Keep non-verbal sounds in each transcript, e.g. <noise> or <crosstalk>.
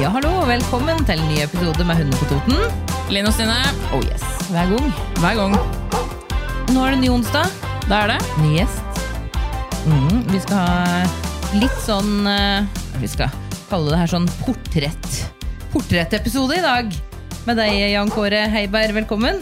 Ja, hallo, og velkommen til en ny episode med Hundene på Toten. Linn og Stine, Oh yes, hver gang. hver gang. Nå er det ny onsdag, Da er det. ny gjest. Mm, vi skal ha litt sånn eh, Vi skal kalle det her sånn portrett. Portrettepisode i dag. Med deg, Jan Kåre Heiberg, velkommen.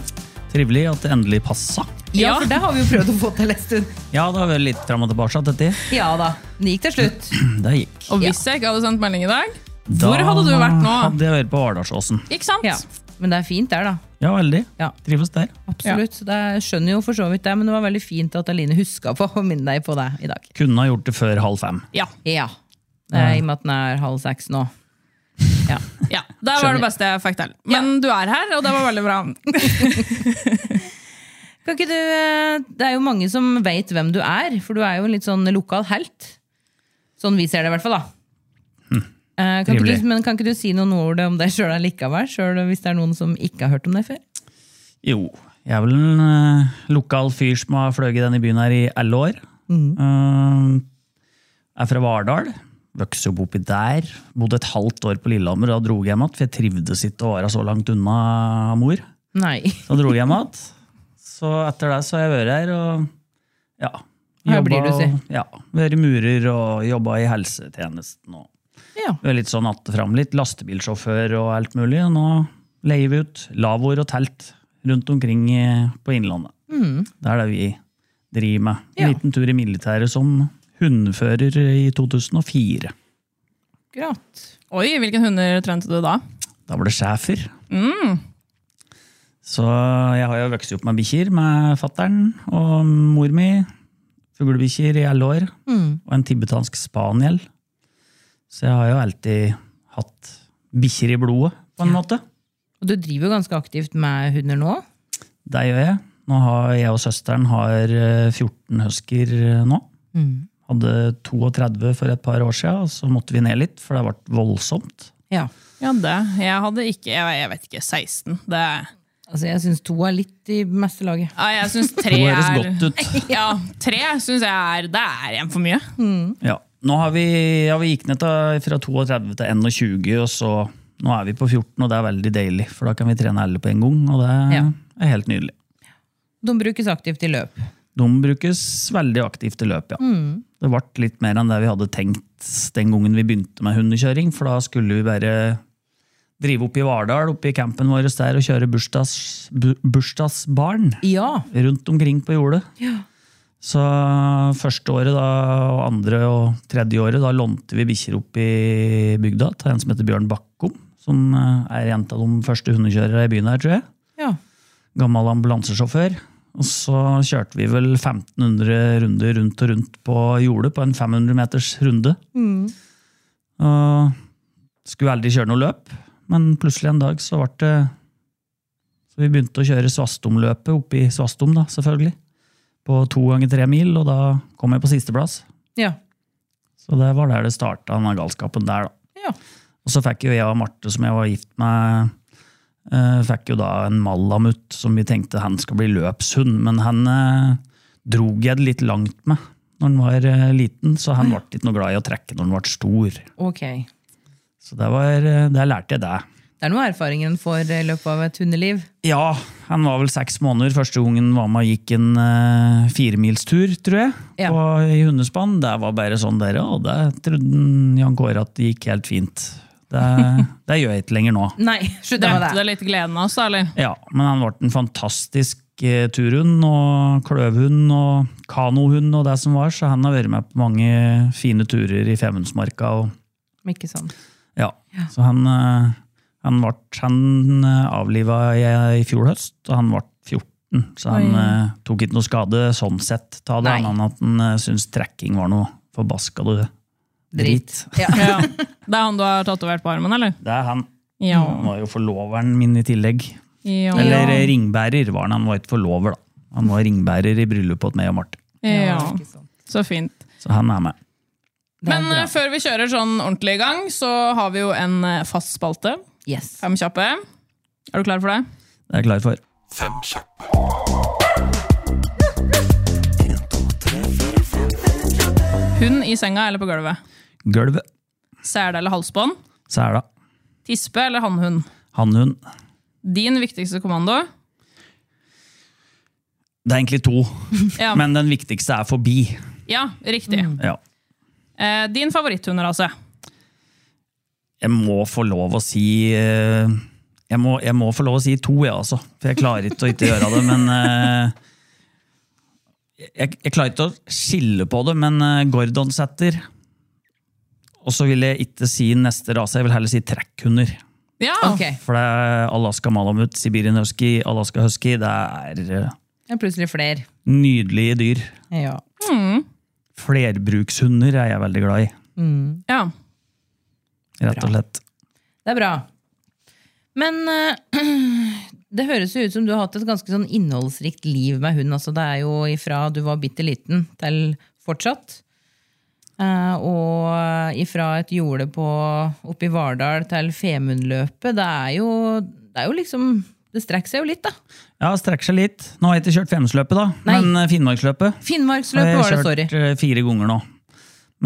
Trivelig at det endelig passa. Ja, Ja. for det har vi jo prøvd å få til en stund. Ja, det har vært litt fram og tilbake. at Dette. Ja da. Det gikk til slutt. <clears throat> Det gikk. Og hvis jeg ikke hadde sendt melding i dag, hvor hadde du vært nå? Hadde jeg vært på Arendalsåsen. Ikke sant? Ja. Men det er fint der, da. Ja, veldig. Ja. Trives der. Absolutt. Det er- skjønner jo for så vidt det, men det var veldig fint at Aline huska på å minne deg på det i dag. Kunne ha gjort det før halv fem. Ja. Ja. Eh, I og med at den er halv seks nå. Ja. ja. Det var det beste jeg fikk til. Men du er her, og det var veldig bra. <laughs> Kan ikke du, eh, det er jo mange som vet hvem du er, for du er jo en litt sånn lokal helt. Sånn vi ser det i hvert fall, da. Eh, Kan ikke trivelig. du, men kan ikke du si noen ord om deg sjøl likevel, sjøl hvis det er noen som ikke har hørt om deg før? Jo, jeg er vel en eh, lokal fyr som har fløyet denne byen her i alle år. Mm. Eh, er fra Vardal. Vokste opp oppi der. Bodde et halvt år på Lillehammer, og da dro jeg hjem igjen, for jeg trivdes ikke å være så langt unna mor. Nei. Så dro jeg hjem igjen. Så etter det så har jeg vært her og ja. Her blir du, jobba- Ja, vært murer og jobba i helsetjenesten. Og Ja. vært litt sånn att og fram, litt lastebilsjåfør og alt mulig. Og nå leier vi ut lavvoer og telt rundt omkring i, på Innlandet. Det er det vi driver med. En Mm. Ja. liten tur i militæret som hundfører i 2004. Akkurat. Oi, hvilken hunder trente du da? Da var det schæfer. Så jeg har jo vokst opp med bikkjer, med fattern og mor mi. Fuglebikkjer i alle år. Og en tibetansk spaniel. Så jeg har jo alltid hatt bikkjer i blodet, på en måte. Og du driver jo ganske aktivt med hunder nå. Det gjør jeg. Nå har Jeg og søsteren har eh, 14 husker eh, nå. Hadde 32 for et par år siden, og så måtte vi ned litt, for det ble voldsomt. Ja. Ja, det. Jeg hadde ikke Jeg, jeg vet ikke. 16. Det Altså, jeg syns to er litt i meste laget. ja, jeg <laughs> syns tre Det høres er godt ut. <laughs> Ja, tre syns jeg er Det er en for mye. Ja. Nå har vi, ja, vi gikk ned til, fra 32 til 21, og så nå er vi på 14, og det er veldig deilig. For da kan vi trene alle på en gang, og det Ja. er helt nydelig. De brukes aktivt i løp. De brukes veldig aktivt i løp, ja. Det ble litt mer enn det vi hadde tenkt den gangen vi begynte med hundekjøring, for da skulle vi bare drive opp i Vardal, opp i campen vår der, og kjøre bursdags, bu, bursdagsbarn Ja. rundt omkring på jordet. Så første året da, og andre og tredje året, da lånte vi bikkjer opp i bygda til en som heter Bjørn Bakkom, som eh, er en av de første hundekjørere i byen her, tror jeg. ja. Gammel ambulansesjåfør. Og så kjørte vi vel 1500 runder rundt og rundt på jordet, på en 500 meters runde. Og skulle aldri kjøre noe løp, men plutselig en dag så ble det Så vi begynte å kjøre Svastomløpet oppe i Svastom, da, selvfølgelig. På to ganger tre mil, og da kom jeg på sisteplass. Ja. Så det var der det starta, denne galskapen der, da. Ja. Og så fikk jo jeg og Marte, som jeg var gift med, eh, fikk jo da en malamut som vi tenkte han skal bli løpshund, men han eh, drog jeg det litt langt med når han var eh, liten, så han ble ikke noe glad i å trekke når han ble stor. Ok. Det Så det var, eh, der lærte jeg det. er noe erfaringen for i løpet av et hundeliv. Ja, han var vel seks måneder. Første gangen var med og gikk en eh, firemilstur, tror jeg, Ja. på, i hundespann. Det var bare sånn der, og det trodde han, Jan Kåre at det gikk helt fint. Det, det gjør jeg ikke lenger nå. Nei, slutt med Drepte det. det litt gleden av oss, da, eller? Ja, men han ble en fantastisk Lekketurhund og kløvhund og kanohund og det som var, så han har vært med på mange fine turer i Femundsmarka. og Men Ikke sånn. ja. Så han, eh, han ble han avliva i fjor høst, og han ble 14. Så han Oi. eh, tok ikke noe skade sånn sett, ta det Nei. annet enn at han eh, syntes trekking var noe forbaska du drit. <laughs> Ja. Ja. <laughs> Mm. Det er han du har tatovert på armen, eller? Det er han. Ja. Han var jo forloveren min i tillegg. Ja. Eller eh, ringbærer var han. Han var ikke forlover, da. Han var ringbærer i bryllupet til meg og Marte. ja. ikke sant. Så fint. Så han er med. Det er Men bra. eh, før vi kjører sånn ordentlig i gang, så har vi jo en eh, fast spalte. Yes. Fem kjappe. Er du klar for det? Det er jeg klar for. Fem kjappe. Hund i senga eller på gulvet? Gulvet. Sele eller halsbånd? Sæla. Tispe eller hannhund? Hannhund. Din viktigste kommando? Det er egentlig to, Ja, men den viktigste er forbi. ja riktig. Mm. Ja. Eh, din altså. favoritthunderase? jeg må få lov å si eh, jeg må, jeg må få lov å si to, jeg, altså. For jeg klarer ikke å ikke gjøre det. Men eh, jeg, jeg klarer ikke å skille på det, men eh, Gordon setter. Og så vil jeg ikke si neste rase, jeg vil heller si trekkhunder. Ja, Ok. For det er Alaska Malamut, Sibirian Husky, Alaska Husky. Det er eh, Det er plutselig flere. nydelige dyr. Ja. Flerbrukshunder er jeg veldig glad i, ja. rett og slett. Det er bra. Men eh, <clears throat> det høres jo ut som du har hatt et ganske sånn innholdsrikt liv med hund. Altså, det er jo ifra du var bitte liten til fortsatt. Eh, og ifra et jorde på, oppe i Vardal til Femundløpet. Det er jo, det er jo liksom Det strekker seg jo litt, da. Ja, strekker seg litt. Nå har jeg ikke kjørt Femundsløpet, da, Nei. men eh, Finnmarksløpet. Finnmarksløpet var det, sorry. Jeg har kjørt eh, fire ganger nå.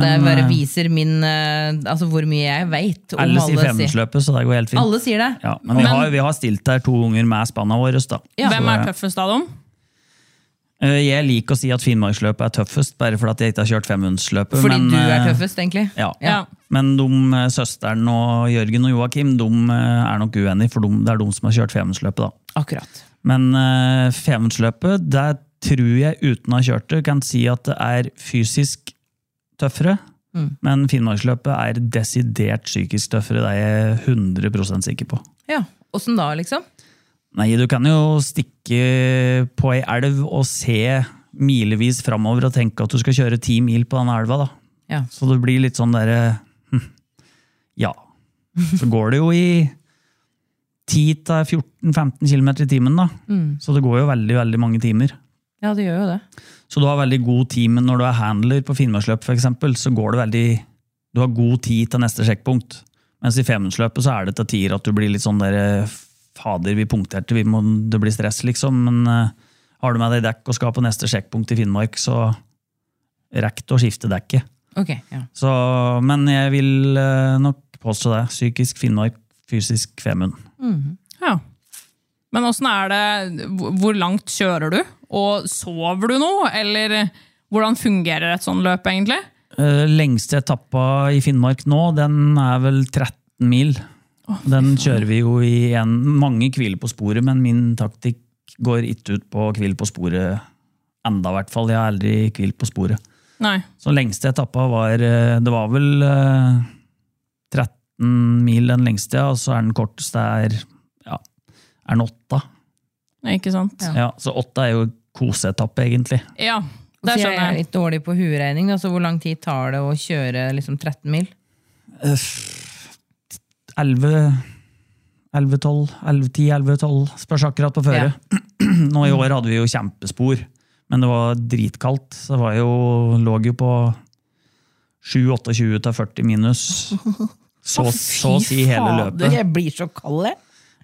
Det bare eh, viser min eh, Altså hvor mye jeg veit om alle sier alle. Sier, femmersløpet, så det går helt fint. alle sier det. Ja, men vi, Men- har, vi har stilt der to ganger med spanna våre. Da. Ja. Hvem er Så, tøffest av dem? eh, Jeg liker å si at Finnmarksløpet er tøffest, bare fordi at jeg ikke har kjørt Femundsløpet. Fordi men, du er eh, tøffest, egentlig. Ja. Ja. Men de, eh, søsteren og Jørgen og Joakim de, eh, er nok uenige, for de, det er de som har kjørt Femundsløpet. da. Akkurat. Men uh, Femundsløpet, der tror jeg uten å ha kjørt det, kan si at det er fysisk tøffere. Men Finnmarksløpet er desidert psykisk tøffere, det er jeg 100 sikker på. Ja, Åssen da, liksom? Nei, du kan jo stikke på ei elv og se milevis framover og tenke at du skal kjøre ti mil på den elva, da. Ja. Så det blir litt sånn derre hm, Ja. Så går det jo i 10-14-15 km i timen, da. Så det går jo veldig, veldig mange timer. Ja, det gjør jo det. Så du har veldig god tid, men når du er handler på Finnmarksløpet f.eks., så går det veldig Du har god tid til neste sjekkpunkt. Mens i Femundsløpet så er det til tider at du blir litt sånn der Fader, vi punkterte, vi må, det blir stress, liksom. Men eh, har du med deg dekk og skal på neste sjekkpunkt i Finnmark, så rekker du å skifte dekket. Ok, ja. Så, men jeg vil eh, nok påstå det. Psykisk Finnmark, fysisk Femund. Ja. Men åssen er det hvor- Hvor langt kjører du? Og sover du nå? Eller hvordan fungerer et sånt løp, egentlig? Eh, Lengste etappa i Finnmark nå, den er vel 13 mil. Den kjører vi jo i en Mange hviler på sporet, men min taktikk går ikke ut på å hvile på sporet enda, i hvert fall. Jeg har aldri hvilt på sporet. Nei. Så lengste etappa var eh, Det var vel eh, 13 mil den lengste, og så er den korteste er, ja, er den åtta. Ikke sant? Ja. Ja. Ja, så åtta er jo koseetappe, egentlig. det Så jeg er skjønner jeg. litt dårlig på hueregning. da, så hvor lang tid tar det å kjøre liksom 13 mil? Eh, 11, 11, 12, 11, 10, 11, 12, spørs akkurat på føre. Nå i år hadde vi jo kjempespor, men det var dritkaldt, så det var jo, lå jo på 7-28 til 40 minus. Så, så å si hele løpet. Jeg blir så kald, jeg.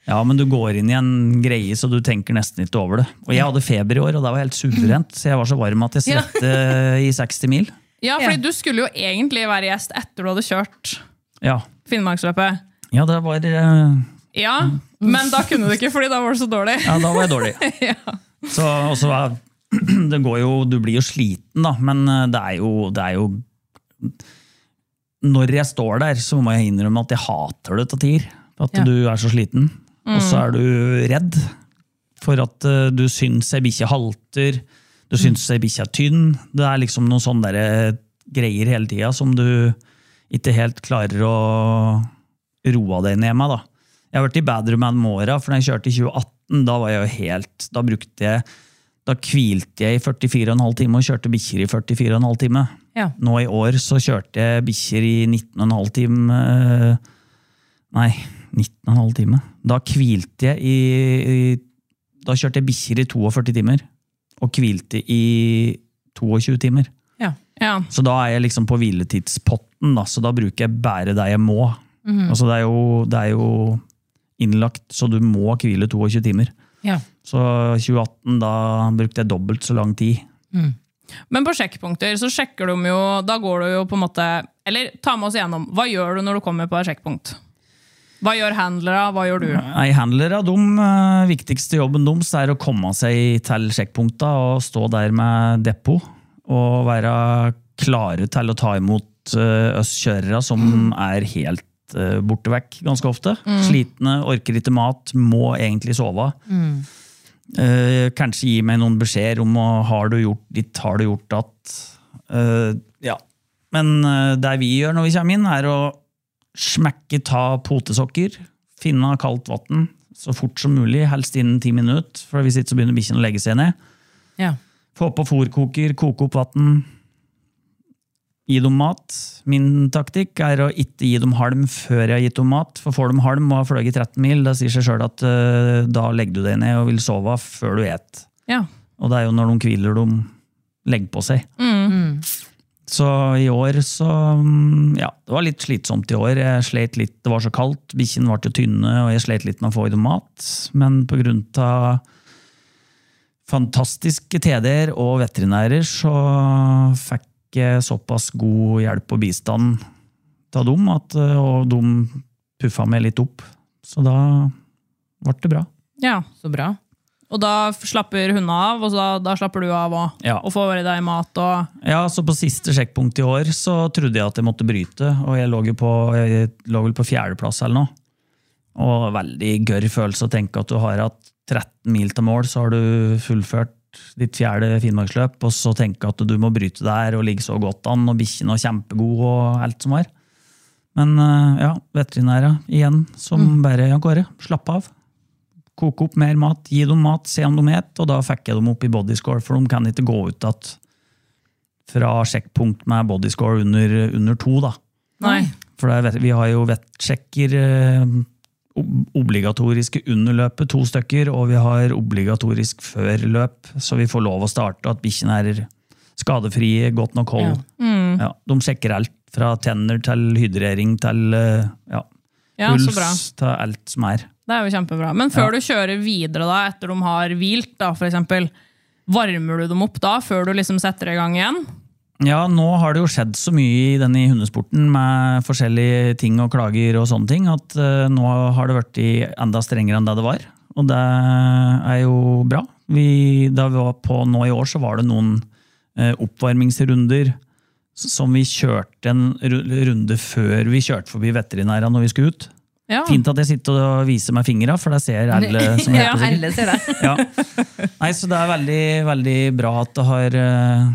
Ja, men du går inn i en greie, så du tenker nesten ikke over det. Og jeg hadde feber i år, og det var helt suverent, så jeg var så varm at jeg Ja. svette i 60 mil. Ja, fordi Ja. du skulle jo egentlig være gjest etter du hadde kjørt Ja, Finnmarksløpet. ja, det var, eh, Ja, men da kunne du ikke, fordi da var det så dårlig. <laughs> ja da var jeg dårlig. Ja. Så, og så er, <clears throat> det går jo, du blir jo sliten, da, men eh, det er jo, det er jo Når jeg står der, så må jeg innrømme at jeg hater det til tider. At Ja. du er så sliten. Og så er du redd. For for at eh, du syns ei bikkje halter, du syns ei bikkje er tynn. Det er liksom noen sånne der greier hele tida som du ikke helt klarer å roe deg ned med. da. Jeg har vært i Badroom and Mora, for da jeg kjørte i 2018, da var jeg jo helt Da brukte jeg da hvilte jeg i 44,5 timer og kjørte bikkjer i 44,5 timer. Ja. Nå i år så kjørte jeg bikkjer i 19,5 time eh, Nei, 19,5 time. Da hvilte jeg i, i Da kjørte jeg bikkjer i 42 timer. Og hvilte i 22 timer. Ja. Ja. Så da er jeg liksom på hviletidspotten, da, så da bruker jeg bare det jeg må. Altså det er, jo, det er jo innlagt, så du må hvile 22 timer. Ja. Så 2018, da brukte jeg dobbelt så lang tid. Men på sjekkpunkter så sjekker de jo Da går du jo på en måte Eller ta med oss igjennom. Hva gjør du når du kommer på et sjekkpunkt? Hva gjør handlere? Hva gjør du? Nei, handlere, de eh, viktigste jobben deres er å komme seg til sjekkpunkta og stå der med depot. Og være klare til å ta imot eh, oss kjørere som er helt eh, borte vekk ganske ofte. Slitne, orker ikke mat, må egentlig sove. Eh, kanskje gi meg noen beskjeder om å, har du gjort ditt, har du gjort datt. Eh, ja. Men eh, det vi gjør når vi kommer inn, er å smekke ta potesokker, finne kaldt vann så fort som mulig, helst innen ti minutter, for hvis ikke så begynner bikkjen å legge seg ned. Ja. Få på fôrkoker, koke opp vann. Gi dem mat. Min taktikk er å ikke gi dem halm før jeg har gitt dem mat. For får de halm og har fløyet 13 mil, da sier seg sjøl at eh, da legger du deg ned og vil sove før du et. Ja. Og det er jo når de hviler de legger på seg. Så i år så mm, Ja, det var litt slitsomt i år. Jeg slet litt, Det var så kaldt, bikkjene ble jo tynne, og jeg slet litt med å få i dem mat. Men på grunn av fantastiske TD-er og veterinærer, så fikk jeg såpass god hjelp og bistand av dem, at, eh, og de puffa meg litt opp. Så da ble det bra. ja. Så bra. Og da f- slapper hundene av, og så da, da slapper du av òg. Ja. Og får i deg mat og Ja, så På siste sjekkpunkt i år så trodde jeg at jeg måtte bryte, og jeg lå, jo på, jeg lå vel på fjerdeplass eller noe. Og veldig gørr følelse å tenke at du har hatt 13 mil til mål, så har du fullført ditt fjerde Finnmarksløp, og så tenke at du må bryte der og ligge så godt an, og bikkjen var kjempegod og alt som var. Men eh, ja, veterinæra igjen, som bare Jan Kåre, slapp av. Koke opp mer mat, gi dem mat, se om de et, og da fikk jeg dem opp i bodyscore, for de kan ikke gå ut at fra sjekkpunkt med bodyscore under, under to. Da. Nei. For det er, vet- vi har jo vettsjekker eh, ob- obligatoriske under løpet, to stykker, og vi har obligatorisk før løp, så vi får lov å starte, og at bikkjene er skadefrie, godt nok hold. Mm. Ja, de sjekker alt, fra tenner til hydrering til eh, ja, Ja, så bra. puls, til alt som er. Det er jo kjempebra. Men før du kjører videre, da, etter de har hvilt, da, for eksempel, varmer du dem opp da, før du liksom setter i gang igjen? Ja, nå har det jo skjedd så mye i denne hundesporten med forskjellige ting og klager og sånne ting, at eh, nå har det vært i enda strengere enn det det var. Og det er jo bra. Vi, da vi var på nå i år, så var det noen eh, oppvarmingsrunder s- som vi kjørte en ru- runde før vi kjørte forbi veterinæra når vi skulle ut. Ja. Ah. Fint at jeg sitter og viser meg fingra, for det <laughs> ser alle som Ja, heter alle ser det. ja. Nei, så det er veldig, veldig bra at det har uh,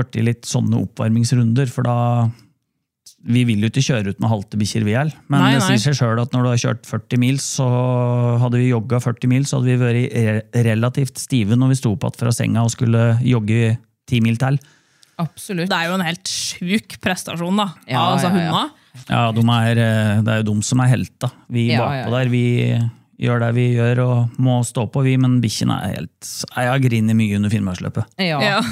vært i litt sånne oppvarmingsrunder, for da Vi vil jo ikke kjøre ut med halte bikkjer, vi heller. Men Nei, det nei. sier seg sjøl at når du har kjørt 40 mil, så hadde vi jogga 40 mil, så hadde vi vært re- relativt stive når vi sto opp igjen fra senga og skulle jogge 10 mil til. <laughs> Absolutt. Det er jo en helt sjuk prestasjon, da. Ja, altså ja, ja. hundene. Ja, de er, eh, det er jo de som er helta. Vi Ja, bakpå ja, ja. der, vi gjør det vi gjør og må stå på, vi. Men bikkjene er helt Jeg har grinet mye under Finnmarksløpet. Ja, Ja.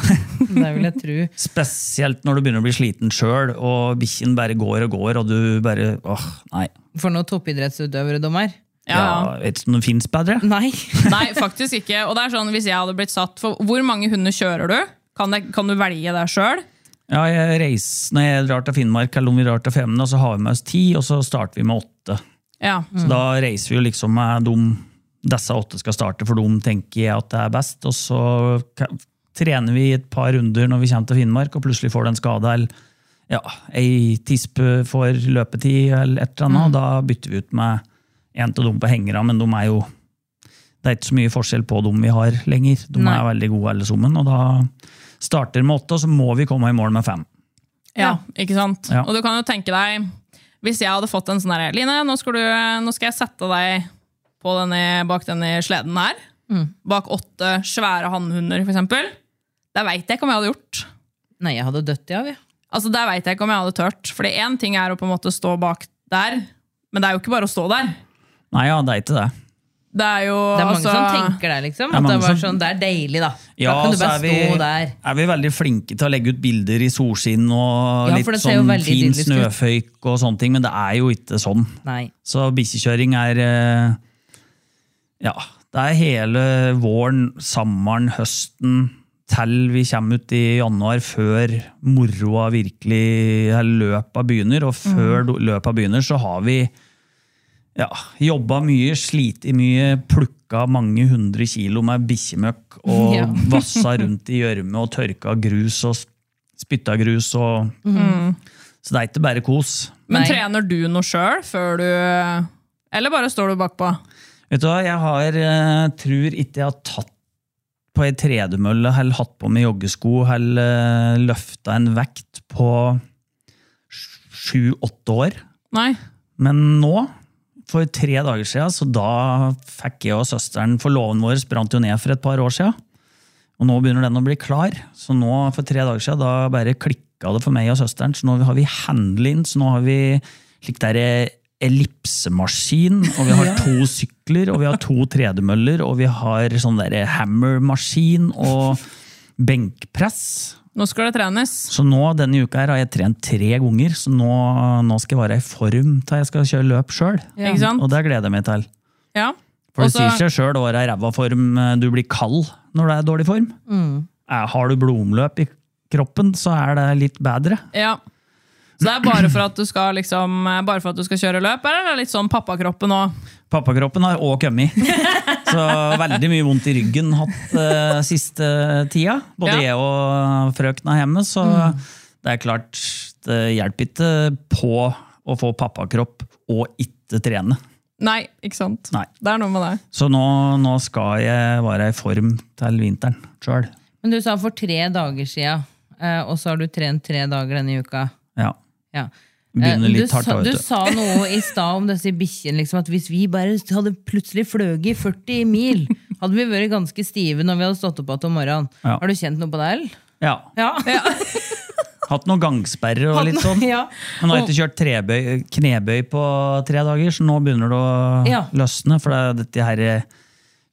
<laughs> det vil jeg tro. Spesielt når du begynner å bli sliten sjøl, og bikkjen bare går og går, og du bare åh, nei. For noen toppidrettsutøvere de er. Ja, ja. Jeg vet ikke om det fins bedre. Nei. Nei, faktisk ikke. Og det er sånn, hvis jeg hadde blitt satt for Hvor mange hunder kjører du? Kan, det, kan du velge det sjøl? Ja, jeg reiser, når jeg drar til Finnmark eller om vi drar til Femne, og så har vi med oss ti, og så starter vi med åtte. Ja. Så da reiser vi jo liksom med dem disse åtte skal starte, for dem tenker jeg at det er best. Og så ka- trener vi et par runder når vi kommer til Finnmark, og plutselig får du en skade eller ja, ei tispe får løpetid eller et eller annet, og da bytter vi ut med en av dem på hengera, men de er jo det er ikke så mye forskjell på dem vi har lenger. De Nei. er veldig gode alle sammen. Og da starter med åtte, og så må vi komme i mål med fem. Ja, ikke sant? Ja. Og du kan jo tenke deg, hvis jeg hadde fått en sånn der, Line, nå skal, du, nå skal jeg sette deg på denne, bak denne sleden her, Mm. bak åtte svære handhunder for eksempel, det vet jeg ikke om jeg hadde gjort. <laughs> Nei, jeg hadde dødd av, jeg. Altså, det vet jeg ikke om jeg hadde tørt, fordi en ting er å på en måte stå bak der, men det er jo ikke bare å stå der. Nei, ja, det er ikke det. Det er jo... Det er mange altså, som tenker det, liksom. Det er At det, mange var som- sånn, det er deilig, da. Ja, da kan du så bare er vi, stå der. er vi veldig flinke til å legge ut bilder i solskinn og Ja, for litt det ser jo sånn veldig fin idyllisk ut. snøføyk og sånne ting, men det er jo ikke sånn. Nei. Så bikkjekjøring er eh, Ja, det er hele våren, sommeren, høsten til vi kommer ut i januar, før moroa virkelig eller løpa begynner. Og før do- løpa begynner, så har vi ja, jobba mye, slitt mye, plukka mange hundre kilo med bikkjemøkk og Ja. vassa rundt i gjørme og tørka grus og s- spytta grus og Så det er ikke bare kos. Men Nei. trener du noe selv før du... Eller bare står du bakpå? Vet du hva, jeg har, eh, tror ikke jeg har tatt på ei tredemølle eller hatt på meg joggesko eller uh, løfta en vekt på sju-åtte år. Nei. Men nå, for tre dager siden, så da fikk jeg og søsteren For låven vår brant jo ned for et par år siden. Og nå begynner den å bli klar. Så nå, for tre dager siden, da bare klikka det for meg og søsteren. Så nå har vi handle-in, så nå har vi slik der ellipsemaskin, og vi har to sykler, og vi har to tredemøller, og vi har sånn der hammermaskin og benkpress. Nå skal det trenes. Så nå denne uka her har jeg trent tre ganger, så nå, nå skal jeg være i form til jeg skal kjøre løp sjøl. Ikke sant? Og det gleder jeg meg til. Ja. For Og så- det sier seg sjøl å være i ræva form, eh, du blir kald når det er dårlig form. Mm. Eh, Har du blodomløp i kroppen, så er det litt bedre. Ja. Så det er bare for at du skal, liksom, eh, bare for at du skal kjøre løp, eller er det litt sånn pappakroppen òg? Pappakroppen har <laughs> òg kommet. Så veldig mye vondt i ryggen hatt eh, siste tida. Ja. Både Mm. jeg og frøkna hjemme, så det er klart det hjelper ikke på å få pappakropp og ikke trene. Nei, ikke sant? Nei. Det er noe med det. Så nå, nå skal jeg være i form til vinteren sjøl. Men du sa for tre dager sia, eh, og så har du trent tre dager denne uka. Ja. Ja. Begynner Eh, litt du, hardt, sa, da, vet du du. sa noe i stad om disse bikkjene. Liksom, at hvis vi bare hadde plutselig fløyet i 40 mil, hadde vi vært ganske stive når vi hadde stått opp igjen om morgenen. Ja. Har du kjent noe på det? eller? ja. <laughs> Ja. Hatt noen gangsperrer og litt sånn. ja. Men nå har jeg ikke kjørt trebøy, knebøy på tre dager, så nå begynner det å Ja. løsne. For det, er dette her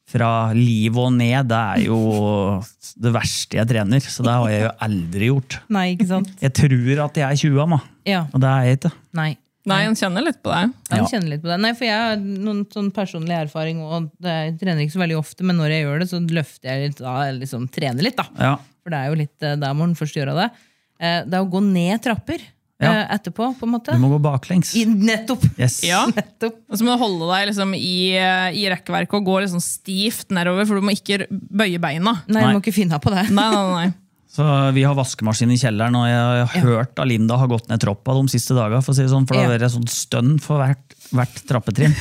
fra liv og ned, det er jo det verste jeg trener. Så det har jeg jo aldri gjort. Nei, ikke sant? Jeg tror at jeg er 20, amma, Ja. og det er jeg ikke. Nei. Nei, en kjenner litt på det. Jeg Ja. kjenner litt på det. Nei, for jeg har noen sånn personlig erfaring, og det- jeg trener ikke så veldig ofte, men når jeg gjør det, så løfter jeg litt, da, eller liksom trener litt, da. Ja. For det er jo litt eh, der må en først gjøre det. Eh, Det er å gå ned trapper Ja. eh, etterpå, på en måte. Du må gå baklengs. I, nettopp! Yes. <laughs> Ja. nettopp. Og så må du holde deg liksom i, eh, i rekkverket og gå liksom stivt nedover, for du må ikke r- bøye beina. Nei, Nei. du må ikke finne på det. Nei, nei, nei. Så vi har vaskemaskin i kjelleren, og jeg har hørt at Linda har gått ned troppa de siste dagene, for å si det sånn, for det har Ja. vært sånn stønn for hvert, hvert trappetrinn.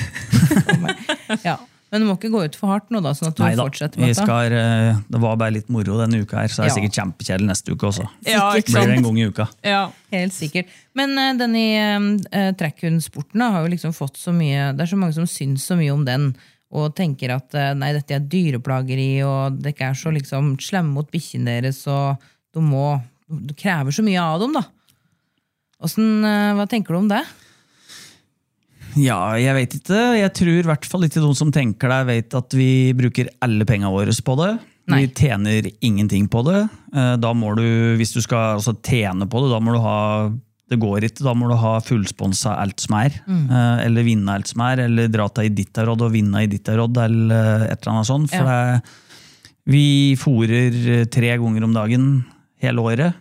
Ja. Men du må ikke gå ut for hardt nå, da, sånn at du Neida, fortsetter vi med dette. skal, eh, det var bare litt moro denne uka her, så er det Ja. sikkert kjempekjedelig neste uke også. Ja, ikke Blir det sant? en gang i uka. Ja. Helt sikkert. Men eh, denne uh, trekkhundsporten da, har jo liksom fått så mye Det er så mange som syns så mye om den, og tenker at eh, nei, dette er dyreplageri, og dere er så liksom slemme mot bikkjene deres, og de må Du krever så mye av dem, da. Åssen, eh, hva tenker du om det? Ja, jeg vet ikke. Jeg tror i hvert fall ikke noen som tenker deg vet at vi bruker alle pengene våre på det. Nei. Vi tjener ingenting på det. Eh, Da må du, hvis du skal altså, tjene på det, da må du ha det går ikke, da må du ha fullsponsa alt som er. eh, Eller vinne alt som er, eller dra til Iditarod og vinne Iditarod, eller eh, et eller annet sånt. For det, vi fôrer eh, tre ganger om dagen hele året.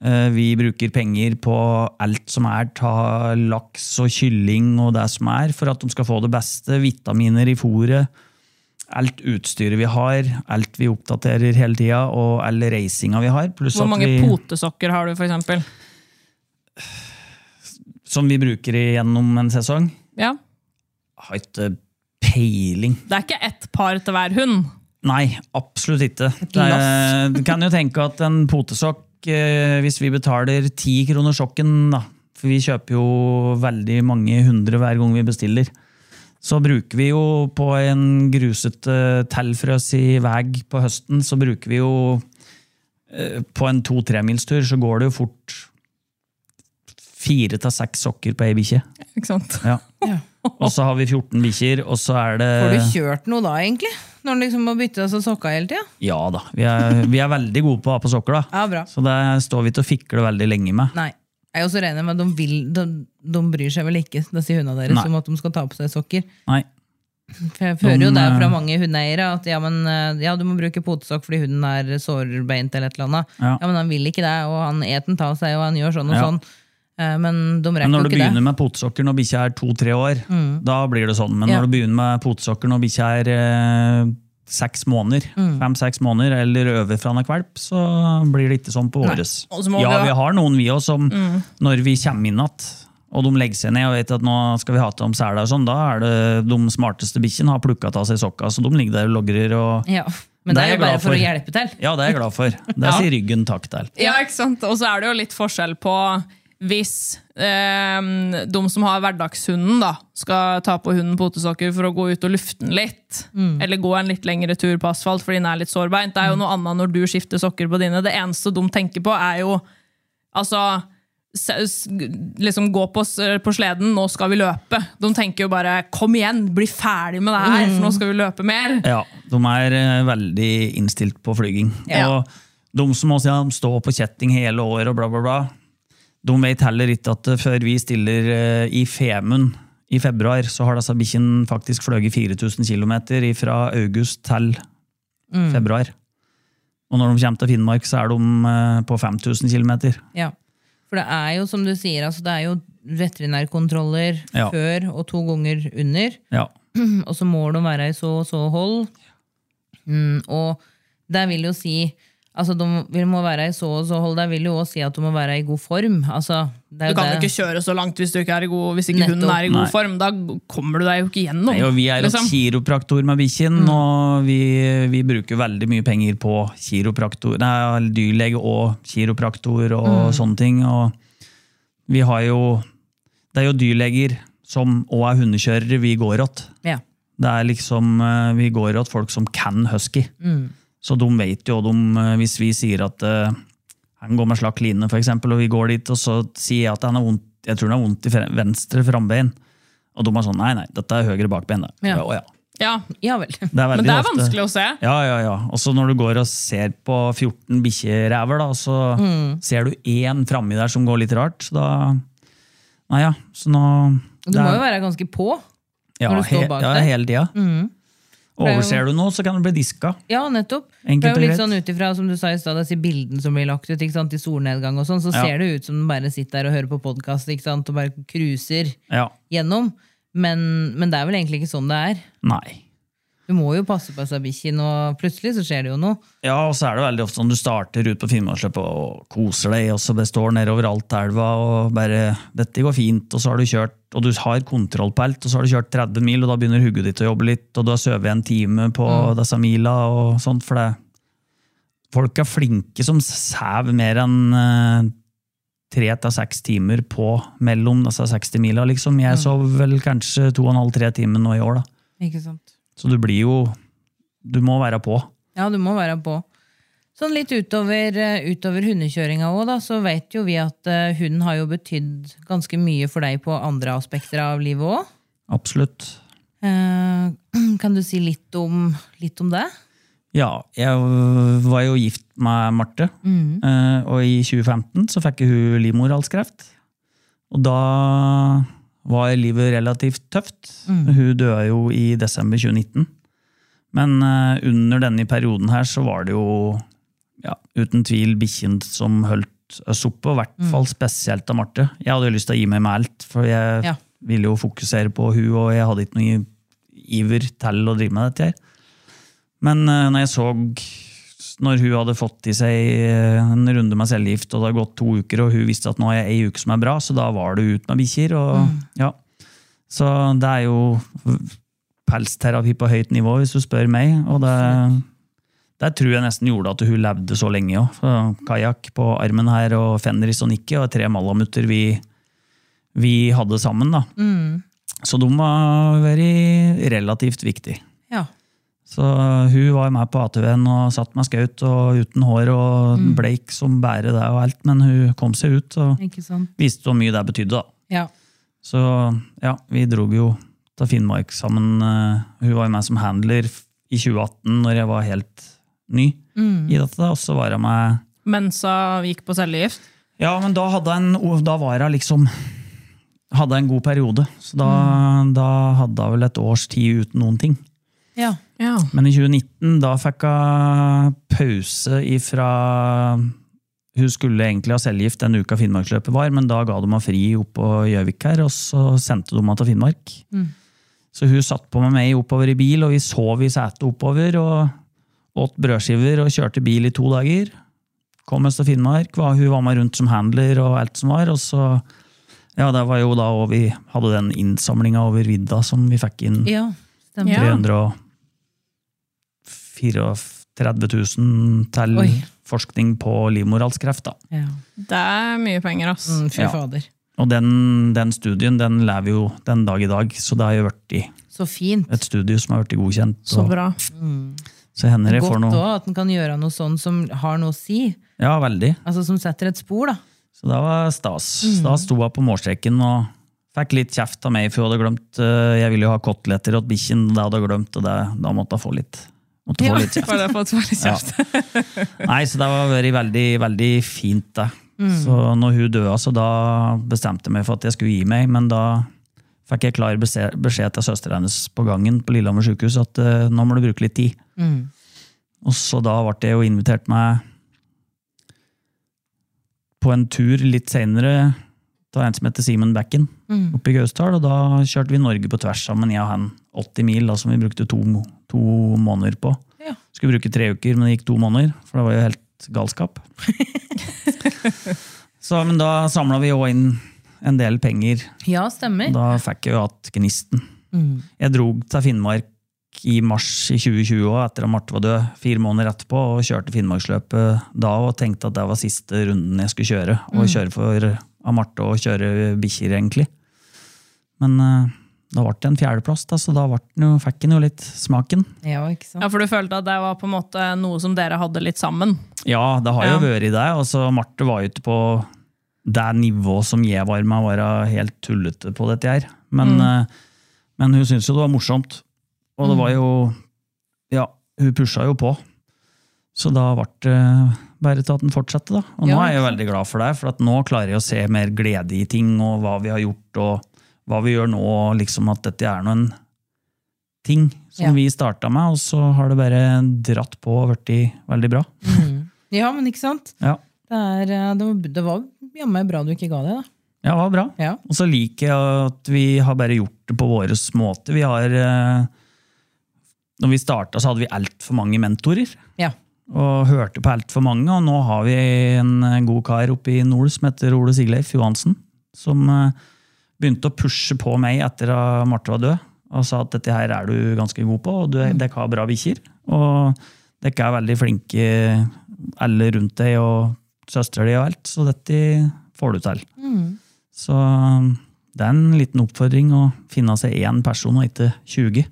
Eh, Vi bruker penger på alt som er ta laks og kylling og det som er, for at de skal få det beste. Vitaminer i fôret. Alt utstyret vi har, alt vi oppdaterer hele tida, og all reisinga vi har. Pluss Hvor at mange vi, potesokker har du, for eksempel? som vi bruker gjennom en sesong. Ja. Jeg har ikke peiling. Det er ikke ett par til hver hund. Nei, absolutt ikke. Det er, du kan jo tenke at en potesokk, eh, hvis vi betaler ti kroner sokken, da, for vi kjøper jo veldig mange hundre hver gang vi bestiller, så bruker vi jo på en grusete tilfrøs i vei på høsten, så bruker vi jo eh, på en to-tremilstur, så går det jo fort fire til seks sokker på ei bikkje. Ikke sant? Ja. Og så har vi 14 bikkjer, og så er det Har du kjørt noe da, egentlig? Når han liksom må bytte av seg sokka hele tida? Ja da. Vi er, vi er veldig gode på å ha på sokker, da. Ja, bra. Så det står vi til å fikle veldig lenge med. Nei. Jeg er også regner med at de, vil, de, de bryr seg vel ikke, disse hundene deres, Nei. om at de skal ta på seg sokker. Nei. For jeg hører jo De, det fra eh, mange hundeeiere at ja, men, eh, ja, du må bruke potesokk fordi hunden er sårbeint eller et eller annet. Ja. Ja. men han vil ikke det, og han eter den av seg, og han gjør sånn og Ja. sånn. Eh, Men de Men rekker når jo du ikke begynner det. med potesokker når bikkja er to-tre år, da blir det sånn. Men Ja. når du begynner med potesokker når bikkja er eh, seks måneder, fem-seks måneder, eller over fra han er kvalp, så blir det ikke sånn på våres. Og så må Ja, vi- vi har noen vi òg som når vi kommer inn igjen, og de legger seg ned og vet at nå skal vi ha til om sela og sånn, da er det de smarteste bikkjene har plukka av seg sokka, så de ligger der og logrer og Ja. Men det Det er er jo jeg bare glad for for. å hjelpe til. Ja, det er jeg glad for. Det sier ryggen takk til. Ja, ikke sant? Og så er det jo litt forskjell på hvis eh, de som har hverdagshunden, da, skal ta på hunden potesokker for å gå ut og lufte den litt, eller gå en litt lengre tur på asfalt fordi den er litt sårbeint. Det er jo noe annet når du skifter sokker på dine. Det eneste de tenker på, er jo altså s- s- liksom gå på, s- på sleden, nå skal vi løpe. De tenker jo bare 'kom igjen, bli ferdig med det her, for nå skal vi løpe mer'. Ja, de er eh, veldig innstilt på flyging. Ja. Og de som også ja, står på kjetting hele året og bla, bla, bla, de vet heller ikke at eh, før vi stiller eh, i Femund i februar, så har disse bikkjene faktisk fløyet 4000 km fra august til februar. Og når de kommer til Finnmark, så er de eh, på 5000 km. Ja. For det er jo, som du sier, altså, det er jo veterinærkontroller Ja. før og to ganger under. <clears throat> Ja. Og så må de være i så og så hold. Mm, og det vil jo si Altså, de vil må være i så og så hold. Det vil jo også si at de må være i god form. Altså, det er Du jo kan jo det. ikke kjøre så langt hvis, du ikke er i god, hvis ikke Nettopp. hunden er i god Nei. form. Da kommer du deg jo ikke gjennom. Nei, og vi er jo liksom. kiropraktor med bikkjen, og vi, vi bruker veldig mye penger på kiropraktor, nei, dyrlege og kiropraktor og sånne ting. Og vi har jo Det er jo dyrleger som òg er hundekjørere vi går åt. Ja. Det er liksom, eh, Vi går åt folk som kan husky. Så de vet jo, de, eh, hvis vi sier at eh, han går med slakk line, for eksempel, og vi går dit, og så sier jeg at han har vondt, jeg tror han har vondt i fre- venstre frambein. Og de er sånn nei, nei, dette er høyre bakbein. det. Ja. Ja, å ja. Ja, Ja <laughs> vel. Det er men veldig det er ofte- vanskelig å se. Ja, ja, ja. Og så når du går og ser på 14 bikkjeræver, da, så Mm. ser du én framme der som går litt rart, så da Nei ja, så nå Du må jo være ganske på. ja, når du står bak he, ja, der. Mm. hele tida. er jo- Overser du noe, så kan du bli diska. Ja, nettopp. Enkelt det er og jo litt greit. sånn ut ifra, som du sa i stad, disse bildene som blir lagt ut ikke sant, i solnedgang og sånn, så Ja. ser det ut som den bare sitter der og hører på podkast og bare cruiser Ja. gjennom. Men, men det er vel egentlig ikke sånn det er. Nei. Du må jo passe på disse bikkjene, og plutselig så skjer det jo noe. Ja, og så er det veldig ofte sånn du starter ut på Finnmarksløpet og koser deg, og så det står nedover alt elva og bare 'Dette går fint', og så har du kjørt, og du har kontroll på alt, og så har du kjørt 30 mil, og da begynner hodet ditt å jobbe litt, og du har sovet en time på disse mila og sånt, for det Folk er flinke som sover mer enn eh, tre til seks timer på mellom disse 60 mila, liksom. Jeg sov vel kanskje to og en halv, tre timer nå i år, da. Ikke sant? Så du blir jo Du må være på. Ja, du må være på. Sånn litt utover, eh, utover hundekjøringa òg, da, så vet jo vi at eh, hunden har jo betydd ganske mye for deg på andre aspekter av livet òg. Absolutt. Eh, <clears throat> Kan du si litt om, litt om det? Ja, jeg var jo gift med Marte, eh, og i 2015 så fikk hun livmorhalskreft. Og da var livet relativt tøft. Hun døde jo i desember 2019. Men eh, under denne perioden her så var det jo ja, uten tvil bikkjen som holdt oss oppe, og i hvert fall spesielt av Marte. Jeg hadde jo lyst til å gi meg med alt, for jeg Ja. ville jo fokusere på hun, og jeg hadde ikke noen iver til å drive med dette her. Men eh, når jeg så når hun hadde fått i seg eh, en runde med cellegift, og det hadde gått to uker, og hun visste at nå har jeg ei uke som er bra, så da var det ut med bikkjer. Og, ja. Så det er jo pelsterapi på høyt nivå, hvis du spør meg. Og det, det tror jeg nesten gjorde at hun levde så lenge òg. Kajakk på armen her, og Fenris og Nikki, og tre malamutter vi, vi hadde sammen. da. Så de var vært relativt viktige. Ja. Så eh, hun var med på ATV-en og satt med skaut og uten hår og bleik som bære det og alt, men hun kom seg ut og Mm. Ikke sant? viste hvor mye det betydde. da. Ja. Så ja, vi dro jo til Finnmark sammen. Eh, Hun var jo med som handler f- i 2018, når jeg var helt ny Mm. i dette. da, Og så var jeg med Mens hun gikk på cellegift. Ja, men da, hadde jeg en, o- da var jeg liksom Hadde jeg en god periode. Så da, Mm. da hadde jeg vel et års tid uten noen ting. ja. Ja. Men i 2019, da fikk hun pause ifra Hun skulle egentlig ha cellegift den uka Finnmarksløpet var, men da ga de henne fri oppå Gjøvik her, og så sendte de henne til Finnmark. Så hun satt på med meg oppover i bil, og vi sov i setet oppover, og åt brødskiver og kjørte bil i to dager. Kom oss til Finnmark, var- hun var med rundt som handler og alt som var, og så Ja, det var jo da og vi hadde den innsamlinga over vidda som vi fikk inn ja. Stemmer. Ja. 334 000 til Oi. forskning på livmorhalskreft. Da. Ja. Det er mye penger, ass. Mm, fy Ja. fader. Og den, den studien den lever jo den dag i dag, så det har jo vært i Så fint. et studie som har vært godkjent. Så og- bra. så hender det får Godt òg noe at en kan gjøre noe sånn som har noe å si. Ja, veldig. Altså Som setter et spor, da. Så det var stas. Mm. Da sto hun på målstreken og fikk litt kjeft av meg, for hun hadde glemt eh, Jeg ville jo ha koteletter åt bikkjen, det hadde hun glemt, og det, da måtte hun få litt, måtte få litt kjeft. <laughs> Bare for å få litt kjeft. Nei, så det var vært veldig, veldig fint det. Så når hun døde, så da bestemte jeg meg for at jeg skulle gi meg, men da fikk jeg klar beskjed, beskjed til søsteren hennes på gangen på Lillehammer sykehus at eh, nå må du bruke litt tid. Og så da ble jeg jo invitert meg på en tur litt senere til en som heter Simen Bekken oppe i Gausdal, og da kjørte vi Norge på tvers sammen, jeg og han. 80 mil, da, som vi brukte to, mo- to måneder på. Ja. Skulle bruke tre uker, men det gikk to måneder, for det var jo helt galskap. så, men da samla vi òg inn en del penger. Ja, stemmer. Da fikk jeg jo hatt gnisten. Jeg dro til Finnmark i mars i 2020 også, etter at Marte var død, fire måneder etterpå, og kjørte Finnmarksløpet da og tenkte at det var siste runden jeg skulle kjøre. Og kjøre for av Marte og kjøre bikkjer, egentlig. Men eh, da ble det en fjerdeplass, da, så da ble den jo, fikk den jo litt smaken. Ja, ikke sant? Ja, For du følte at det var på en måte noe som dere hadde litt sammen? Ja, det har Ja. jo vært det. Altså, Marte var jo ikke på det nivået som jeg var med å være helt tullete på dette her. Men, Mm. eh, men hun syntes jo det var morsomt. Og det var jo Ja, hun pusha jo på. Så da ble det bare til at den fortsatte, da. Og nå Ja, er jeg jo veldig glad for det, for at nå klarer jeg å se mer glede i ting, og hva vi har gjort, og hva vi gjør nå, og liksom at dette er noen ting som Ja. vi starta med, og så har det bare dratt på og blitt veldig bra. Ja, men ikke sant? Ja. Det, er, eh, det var, det var jammen bra du ikke ga det, da. Ja, det var bra. Ja. Og så liker jeg at vi har bare gjort det på vår måte. Vi har eh, Når vi starta, så hadde vi altfor mange mentorer. Ja. Og hørte på altfor mange. Og nå har vi en eh, god kar oppe i nord som heter Ole Sigleif Johansen. Som eh, begynte å pushe på meg etter at Marte var død. Og sa at dette her er du ganske god på, og du- Mm. dere har bra bikkjer. Og dere er veldig flinke alle rundt deg, og søstera di og alt. Så dette får du til. Mm. Så eh, det er en liten oppfordring å finne seg én person og ikke 20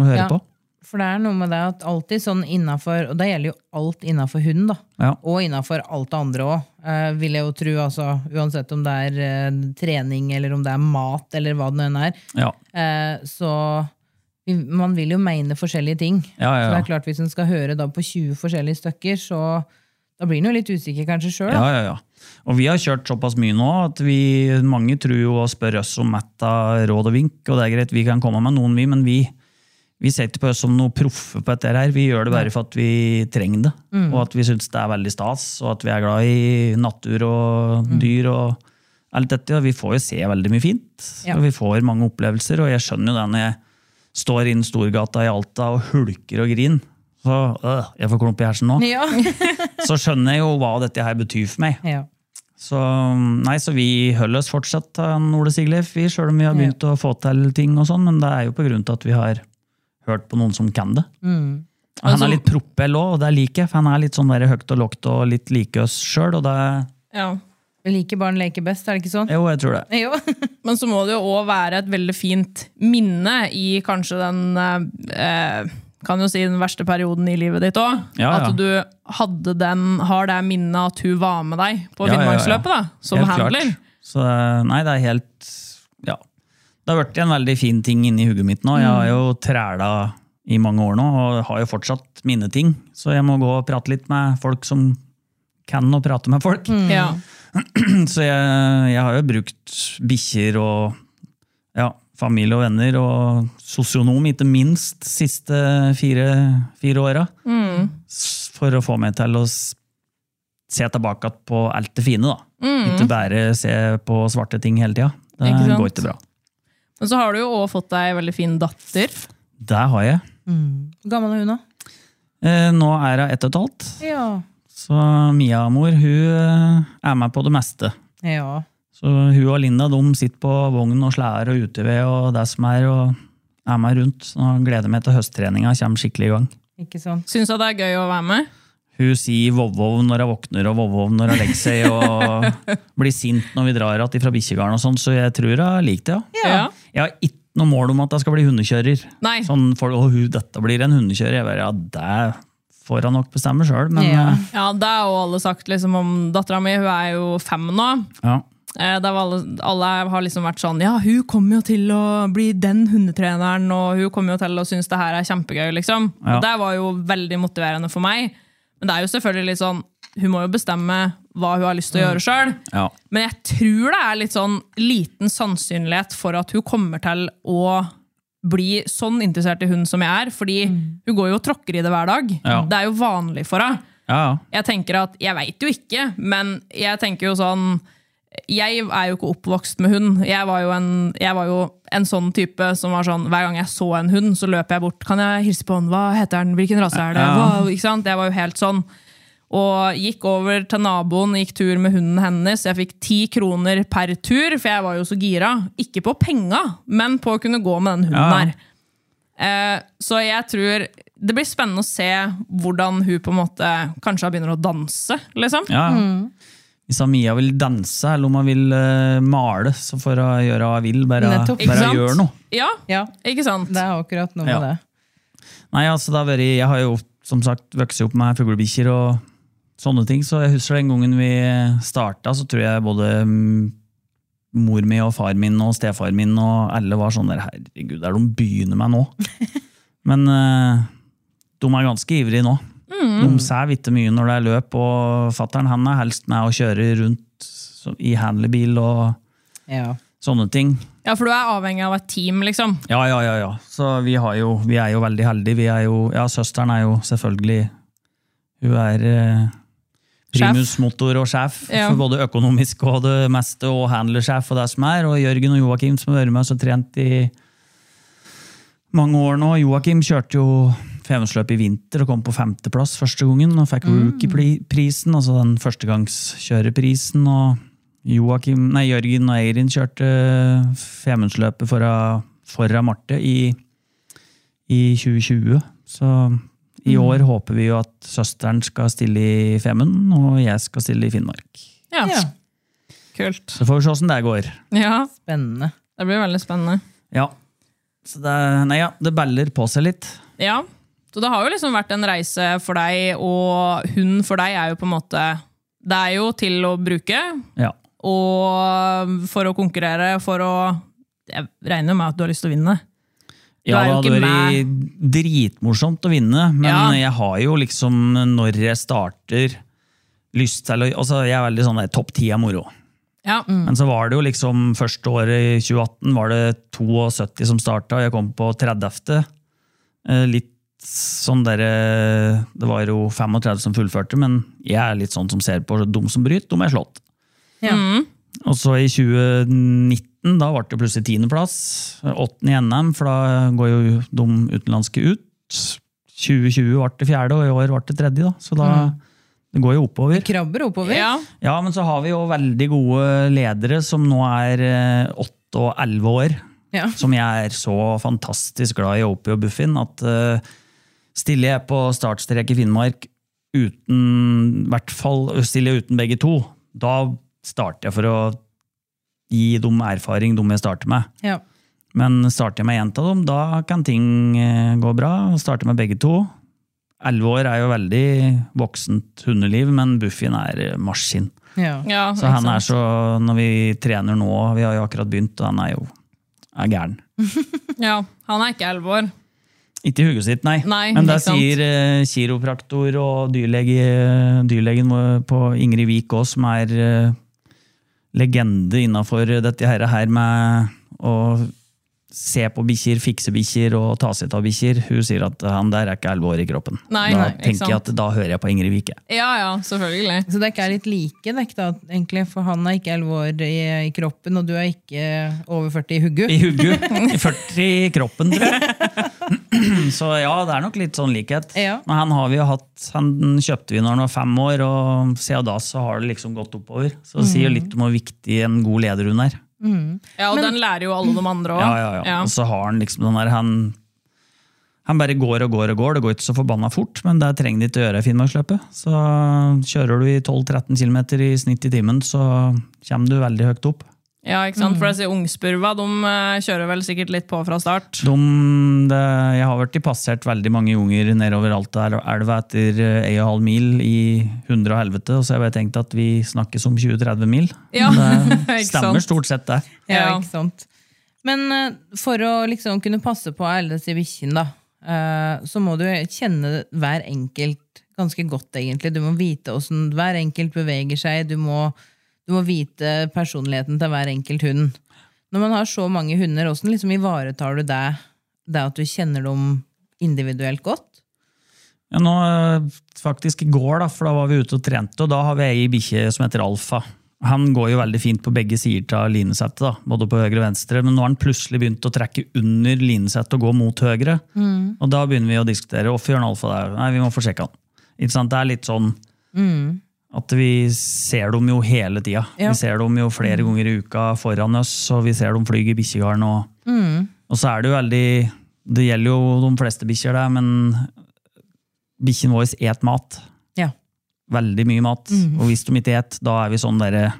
å høre Ja. på. For det er noe med det at alltid sånn innafor, og det gjelder jo alt innafor hund, da. Ja. Og innafor alt det andre òg, vil jeg jo tro. Altså, uansett om det er eh, trening, eller om det er mat, eller hva det nå enn er. Ja. Eh, så vi- man vil jo mene forskjellige ting. Ja, ja, Så det ja. er klart, hvis en skal høre da på 20 forskjellige stykker, så da blir en jo litt usikker kanskje sjøl. Ja, ja, ja. Og vi har kjørt såpass mye nå at vi, mange tror jo og spør oss om ett av råd og vink, og det er greit, vi kan komme med noen, vi, men vi, vi ser ikke på oss som noe proffe på dette her. Vi gjør det bare for at vi trenger det, Mm. og at vi syns det er veldig stas, og at vi er glad i natur og Mm. dyr og alt dette. Og vi får jo se veldig mye fint, Ja. og vi får mange opplevelser, og jeg skjønner jo det når jeg står inn Storgata i Alta og hulker og griner. Så øh, jeg får klump i hersen nå. Ja. <laughs> Så skjønner jeg jo hva dette her betyr for meg. ja. Så, um, nei, så vi holder uh, oss fortsatt til han Ole Sigleif, vi, selv om vi har begynt å få til ting og sånn, men det er jo på grunn til at vi har hørt på noen som kan det. Mm. Og Altså- han er litt propell òg, og det liker jeg. For han er litt sånn der høyt og lågt og litt likøs sjøl. Og det Ja. Like barn leker best, er det ikke sånn? Jo, jeg tror det. Jo. <laughs> Men så må det jo òg være et veldig fint minne i kanskje den eh, eh, Kan jo si den verste perioden i livet ditt òg. Ja, ja. At du hadde den, har det minnet at hun var med deg på Ja, ja, ja, ja. Finnmarksløpet, da. Som Helt klart. handler. Så uh, nei, det er helt Ja. Det har blitt en veldig fin ting inni hodet mitt nå. Jeg Mm. har jo træla i mange år nå, og har jo fortsatt mine ting. Så jeg må gå og prate litt med folk som kan å prate med folk. Ja. Så jeg, jeg har jo brukt bikkjer og ja, familie og venner, og sosionom ikke minst, siste fire, fire åra. Mm. S- For å få meg til å s- se tilbake at på alt det fine, da. Ikke bare se på svarte ting hele tida. Det Mm. Ikke sant? går ikke bra. Men så har du jo òg fått deg en veldig fin datter. Det har jeg. Hvor gammel er hun, da? Eh, Nå er hun ett og et halvt, Ja. så Mia-mor hun eh, er med på det meste. ja. Så hun og Linda de sitter på vogn og slær og uteved og det som er, og er meg rundt. Så jeg gleder meg til høsttreninga kommer skikkelig i gang. Ikke sant. Syns du det er gøy å være med? Hun sier vovvov når hun våkner og vovvov når hun legger seg, og blir sint når vi drar igjen fra bikkjegarden og sånn, så jeg tror hun liker det, ja. Ja. Jeg har ikke noe mål om at jeg skal bli hundekjører. Nei. Sånn folk, «Å, hun, dette blir en hundekjører. Jeg bare, ja, det får han nok bestemme sjøl, men Ja. eh, Ja, det er jo alle sagt liksom, om dattera mi. Hun er jo fem nå. ja. Eh, Der var alle, alle har liksom vært sånn Ja, hun kommer jo til å bli den hundetreneren, og hun kommer jo til å synes det her er kjempegøy, liksom. Ja. Og det var jo veldig motiverende for meg. Men det er jo selvfølgelig litt sånn Hun må jo bestemme hva hun har lyst til Mm. å gjøre sjøl. Ja. Men jeg tror det er litt sånn liten sannsynlighet for at hun kommer til å bli sånn interessert i hund som jeg er, fordi hun går jo og tråkker i det hver dag. Mm. Ja. Det er jo vanlig for henne Ja, ja. jeg tenker at, jeg vet jo ikke, men jeg tenker jo sånn jeg er jo ikke oppvokst med hund. Jeg var jo en, jeg var jo en sånn type som var sånn Hver gang jeg så en hund, så løp jeg bort. 'Kan jeg hilse på den? Hva heter den? Hvilken rase er det?' Ja. Hva, ikke sant? Jeg var jo helt sånn. Og gikk over til naboen, gikk tur med hunden hennes. Jeg fikk ti kroner per tur, for jeg var jo så gira. Ikke på penga, men på å kunne gå med den hunden Ja. her. Eh, så jeg tror det blir spennende å se hvordan hun på en måte kanskje begynner å danse, liksom. Ja. Hvis han Mia vil danse, eller om han vil eh, male, så får hun gjøre hva hun vil. Bare, Nettopp. Ikke bare sant? gjør noe. Ja, Ja, ikke sant? det er akkurat noe Ja. med det. Nei, altså, det har vært, jeg har jo som sagt vokst opp med fuglebikkjer og sånne ting, så jeg husker den gangen vi starta, så tror jeg både mm, mor mi og far min og stefar min og alle var sånn der Herregud, det er de begynner med nå. Men eh, de er ganske ivrige nå. De sæver ikke mye når det er løp, og fattern han er helst med å kjøre rundt så- i handlebil og Ja. sånne ting. Ja, for du er avhengig av et team, liksom. Ja, ja, ja. ja. Så vi, har jo, vi er jo veldig heldige. Vi er jo, ja, søsteren er jo selvfølgelig Hun er eh, primusmotor og sjef Ja. for både økonomisk og det meste, og handlersjef og det som er. Og Jørgen og Joakim som har vært med oss og trent i mange år nå. Joakim kjørte jo Femundsløpet i vinter og kom på femteplass første gangen. Og fikk Rookie-prisen, altså den førstegangskjørerprisen. Og Joakim, nei, Jørgen og Eirin kjørte Femundsløpet foran, foran Marte i, i 2020. Så i år håper vi jo at søsteren skal stille i Femund, og jeg skal stille i Finnmark. Ja, ja. Kult. Så får vi se åssen det går. Ja, Spennende. det blir veldig spennende. Ja. Så det, nei, ja, det baller på seg litt. Ja, så det har jo liksom vært en reise for deg, og hund for deg er jo på en måte Det er jo til å bruke, Ja. og for å konkurrere, for å Jeg regner jo med at du har lyst til å vinne. Du Ja, er jo det hadde ikke vært dritmorsomt å vinne, men Ja. jeg har jo liksom, når jeg starter, lyst til å altså Jeg er veldig sånn der, topp ti er moro. Ja, Men så var det jo liksom første året i 2018 var det 72 som starta, og jeg kom på 30. Eh, Litt sånn der, eh, Det var jo 35 som fullførte, men jeg er litt sånn som ser på de som bryter, de er slått. Ja. Og så i 2019, da ble det plutselig tiendeplass. Åttende i NM, for da går jo de utenlandske ut. 2020 ble det fjerde, og i år ble det tredje. da. Så da, det går jo oppover. Krabber oppover. ja. Ja, men så har vi jo veldig gode ledere som nå er eh, åtte og elleve år. Ja. Som jeg er så fantastisk glad i Opie og Buffin at eh, stiller jeg på startstrek i Finnmark uten, i hvert fall stiller jeg uten begge to, da starter jeg for å gi dem erfaring, dem jeg starter med. Ja. Men starter jeg med én av dem, da kan ting eh, gå bra. Starter med begge to. Elleve år er jo veldig voksent hundeliv, men Buffin er eh, maskin. Ja. Ja, Så han er så, når vi trener nå, vi har jo akkurat begynt, og han er jo er gæren. ja, han er ikke elleve år. Ikke i hugget sitt, nei. Nei, men der ikke sant. sier eh, kiropraktor og dyrlege, dyrlegen vår på Ingrid Wiik òg, som er eh, legende innafor dette her, her med å se på bikkjer, fikse bikkjer og ta seg av bikkjer. Hun sier at han der er ikke elleve år i kroppen. Nei, da nei, ikke tenker jeg sant. at da hører jeg på Ingrid Wiik. jeg. Ja, ja, selvfølgelig. Så det ikke er litt like dekk, da, egentlig, for han er ikke 11 år i, i kroppen, og du er ikke over 40 i huggu. I hugget. I 40 i kroppen, tror jeg. <clears throat> Så ja, det er nok litt sånn likhet. Ja. Men han har vi jo hatt, han kjøpte vi når han var fem år, og siden da så har det liksom gått oppover. Så det sier jo litt om hvor viktig en god leder hun er. Ja, Og den lærer jo alle de andre òg. Ja, ja, ja. Og så har han liksom den der, han, han bare går og går og går. Det går ikke så forbanna fort, men det trenger de ikke å gjøre i Finnmarksløpet. Så kjører du i 12-13 km i snitt i timen, så kommer du veldig høyt opp. Ja, ikke sant? For disse ungspurva de eh, kjører vel sikkert litt på fra start. De, det, jeg har vært i passert veldig mange unger nedover Alta el- elva etter eh, ei og en halv mil i hundre og helvete, og så har jeg bare tenkt at vi snakkes om 20-30 mil. Ja, <laughs> Det ikke stemmer sant? stort sett det. Ja, Ja. ikke sant? Men eh, for å liksom kunne passe på alle disse bikkjene, da, eh, så må du kjenne hver enkelt ganske godt, egentlig. Du må vite åssen hver enkelt beveger seg, du må, du må vite personligheten til hver enkelt hund. Når man har så mange hunder, åssen liksom ivaretar du det, det at du kjenner dem individuelt godt? Ja, nå, eh, faktisk i går, da, for da var vi ute og trente, og da har vi ei bikkje som heter Alfa. Han går jo veldig fint på begge sider av linesettet, da, både på høyre og venstre, men nå har han plutselig begynt å trekke under linesettet og gå mot høyre. Og da begynner vi å diskutere hvorfor gjør han Alfa det? Nei, vi må få sjekke han. Ikke sant? Det er litt sånn at vi ser dem jo hele tida. Ja. Vi ser dem jo flere ganger i uka foran oss, og vi ser dem fly i bikkjegarden. Og, og så er det jo veldig Det gjelder jo de fleste bikkjer, det, men bikkjen vår et mat. Ja. Mhm. Veldig mye mat. Og hvis de ikke et, da er vi sånn derre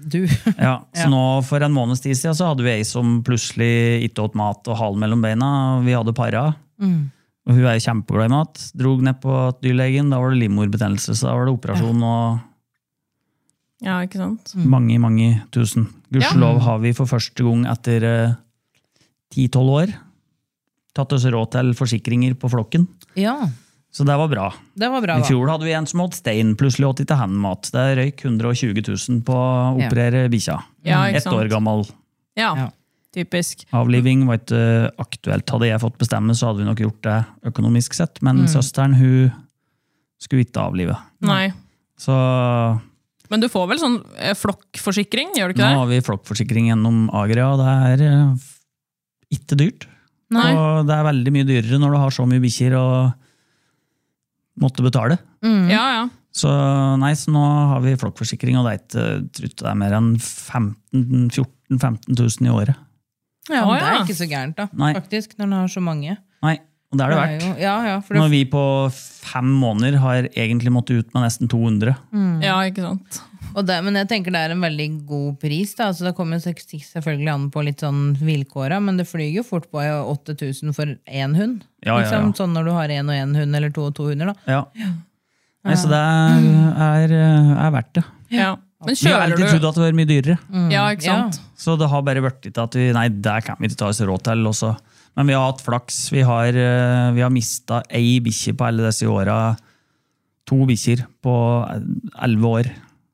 Du. <laughs> ja, Så Ja. nå for en måneds tid siden så hadde vi ei som plutselig ikke åt mat og halen mellom beina. og Vi hadde para. Mm. Og hun er jo kjempeglad i mat. Drog ned på dyrlegen, da var det livmorbetennelse, så da var det operasjon og Ja, ikke sant? Mm. mange, mange tusen. Gudskjelov har vi for første gang etter eh, 10-12 år tatt oss råd til forsikringer på flokken. Ja, Så det var bra. det var bra, I da. fjor hadde vi en som åt stein, plutselig åt ikke han mat. Det røyk 120 000 på å Ja. operere bikkja. Ja, ikke Ett sant? år gammel. Ja, Ja. typisk. Avliving var ikke eh, aktuelt. Hadde jeg fått bestemme, så hadde vi nok gjort det økonomisk sett, Mm. men søsteren hun skulle ikke avlive. Nei. Så nå Men du får vel sånn eh, flokkforsikring, gjør du ikke det? har vi flokkforsikring gjennom Agria, og det er eh, ikke dyrt. Nei. Og det er veldig mye dyrere når du har så mye bikkjer og måtte betale. Mm. Ja, ja. Så nei, så nå har vi flokkforsikring, og det er ikke jeg tror ikke det er mer enn 15 14 15 000 i året. Ja, Å, men det er ja. ikke så gærent, da, Nei. faktisk, når en har så mange. Nei, og det er det jo, verdt. ja, ja, for det Når vi på fem måneder har egentlig måttet ut med nesten 200. ja, ikke sant. Og det, men jeg tenker det er en veldig god pris. Da. Altså, det kommer jo sek- selvfølgelig an på litt sånn vilkåra, men det flyr jo fort på 8000 for én hund. Ja, ja, ja. Liksom, sånn når du har én og én hund, eller to og to hunder. Da. Ja. Nei, så det er, er, er verdt det. Ja. Men Vi har kjører alltid trodd du Mm. at det var mye dyrere. Ja, ikke sant? Så det har bare vært litt at vi, nei, det kan vi ikke ta oss råd til. og så- Men vi har hatt flaks. Vi har, eh, vi har mista ei bikkje på alle disse åra. To bikkjer på elleve år.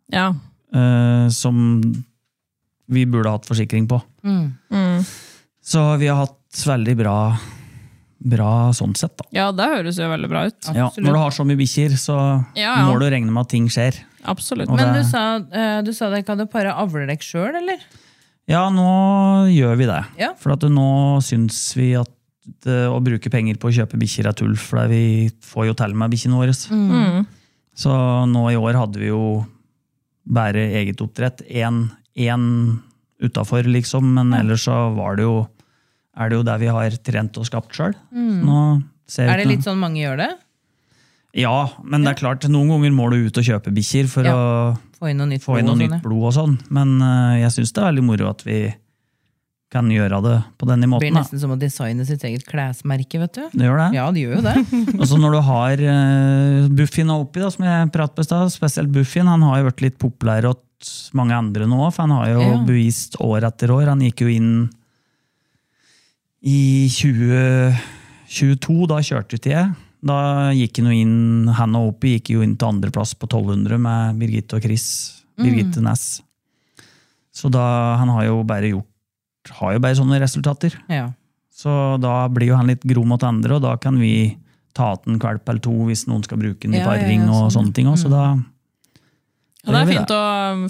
Ja. eh, som vi burde hatt forsikring på. Mm. Så vi har hatt veldig bra, bra sånn sett, da. ja, det høres jo veldig bra ut. Ja, når du har så mye bikkjer, så Ja, ja. må du regne med at ting skjer. Absolutt. Og Men det- du sa, eh, du sa dere ikke hadde para avledekk sjøl, eller? Ja, nå gjør vi det. Ja. For at nå syns vi at eh, å bruke penger på å kjøpe bikkjer er tull, for det vi får jo til med bikkjene våre. Mm. Så nå i år hadde vi jo bare eget oppdrett. Én utafor, liksom, men ellers så var det jo er det jo der vi har trent og skapt sjøl. Er Mm. Er det litt sånn mange gjør det? Ja, men det er klart, noen ganger må du ut og kjøpe bikkjer for å Få inn noe nytt få inn noe blod og sånn, nytt blod og sånn. Men øh, jeg syns det er veldig moro at vi kan gjøre det på denne Det blir måten. Da. nesten som å designe sitt eget klesmerke, vet du. Det gjør det. Ja, det gjør jo det. <laughs> <laughs> Og så når du har uh, Buffin og Oppi, da, som jeg pratet på i stad, spesielt Buffin, han har jo vært litt populær hos mange andre nå, for han har jo Ja. bevist år etter år. Han gikk jo inn i 2022, da kjørte ut jeg. Da gikk han jo inn, han og Oppi gikk jo inn til andreplass på 1200 med Birgitte og Chris. Birgitte Næss. Så da, han har jo bare gjort har jo bare sånne resultater. Ja. Så da blir jo han litt gro mot andre, og da kan vi ta til en kvalp eller to hvis noen skal bruke den i Ja, ja, ja, paring og sånn. sånne ting også, så da Og det gjør er vi fint å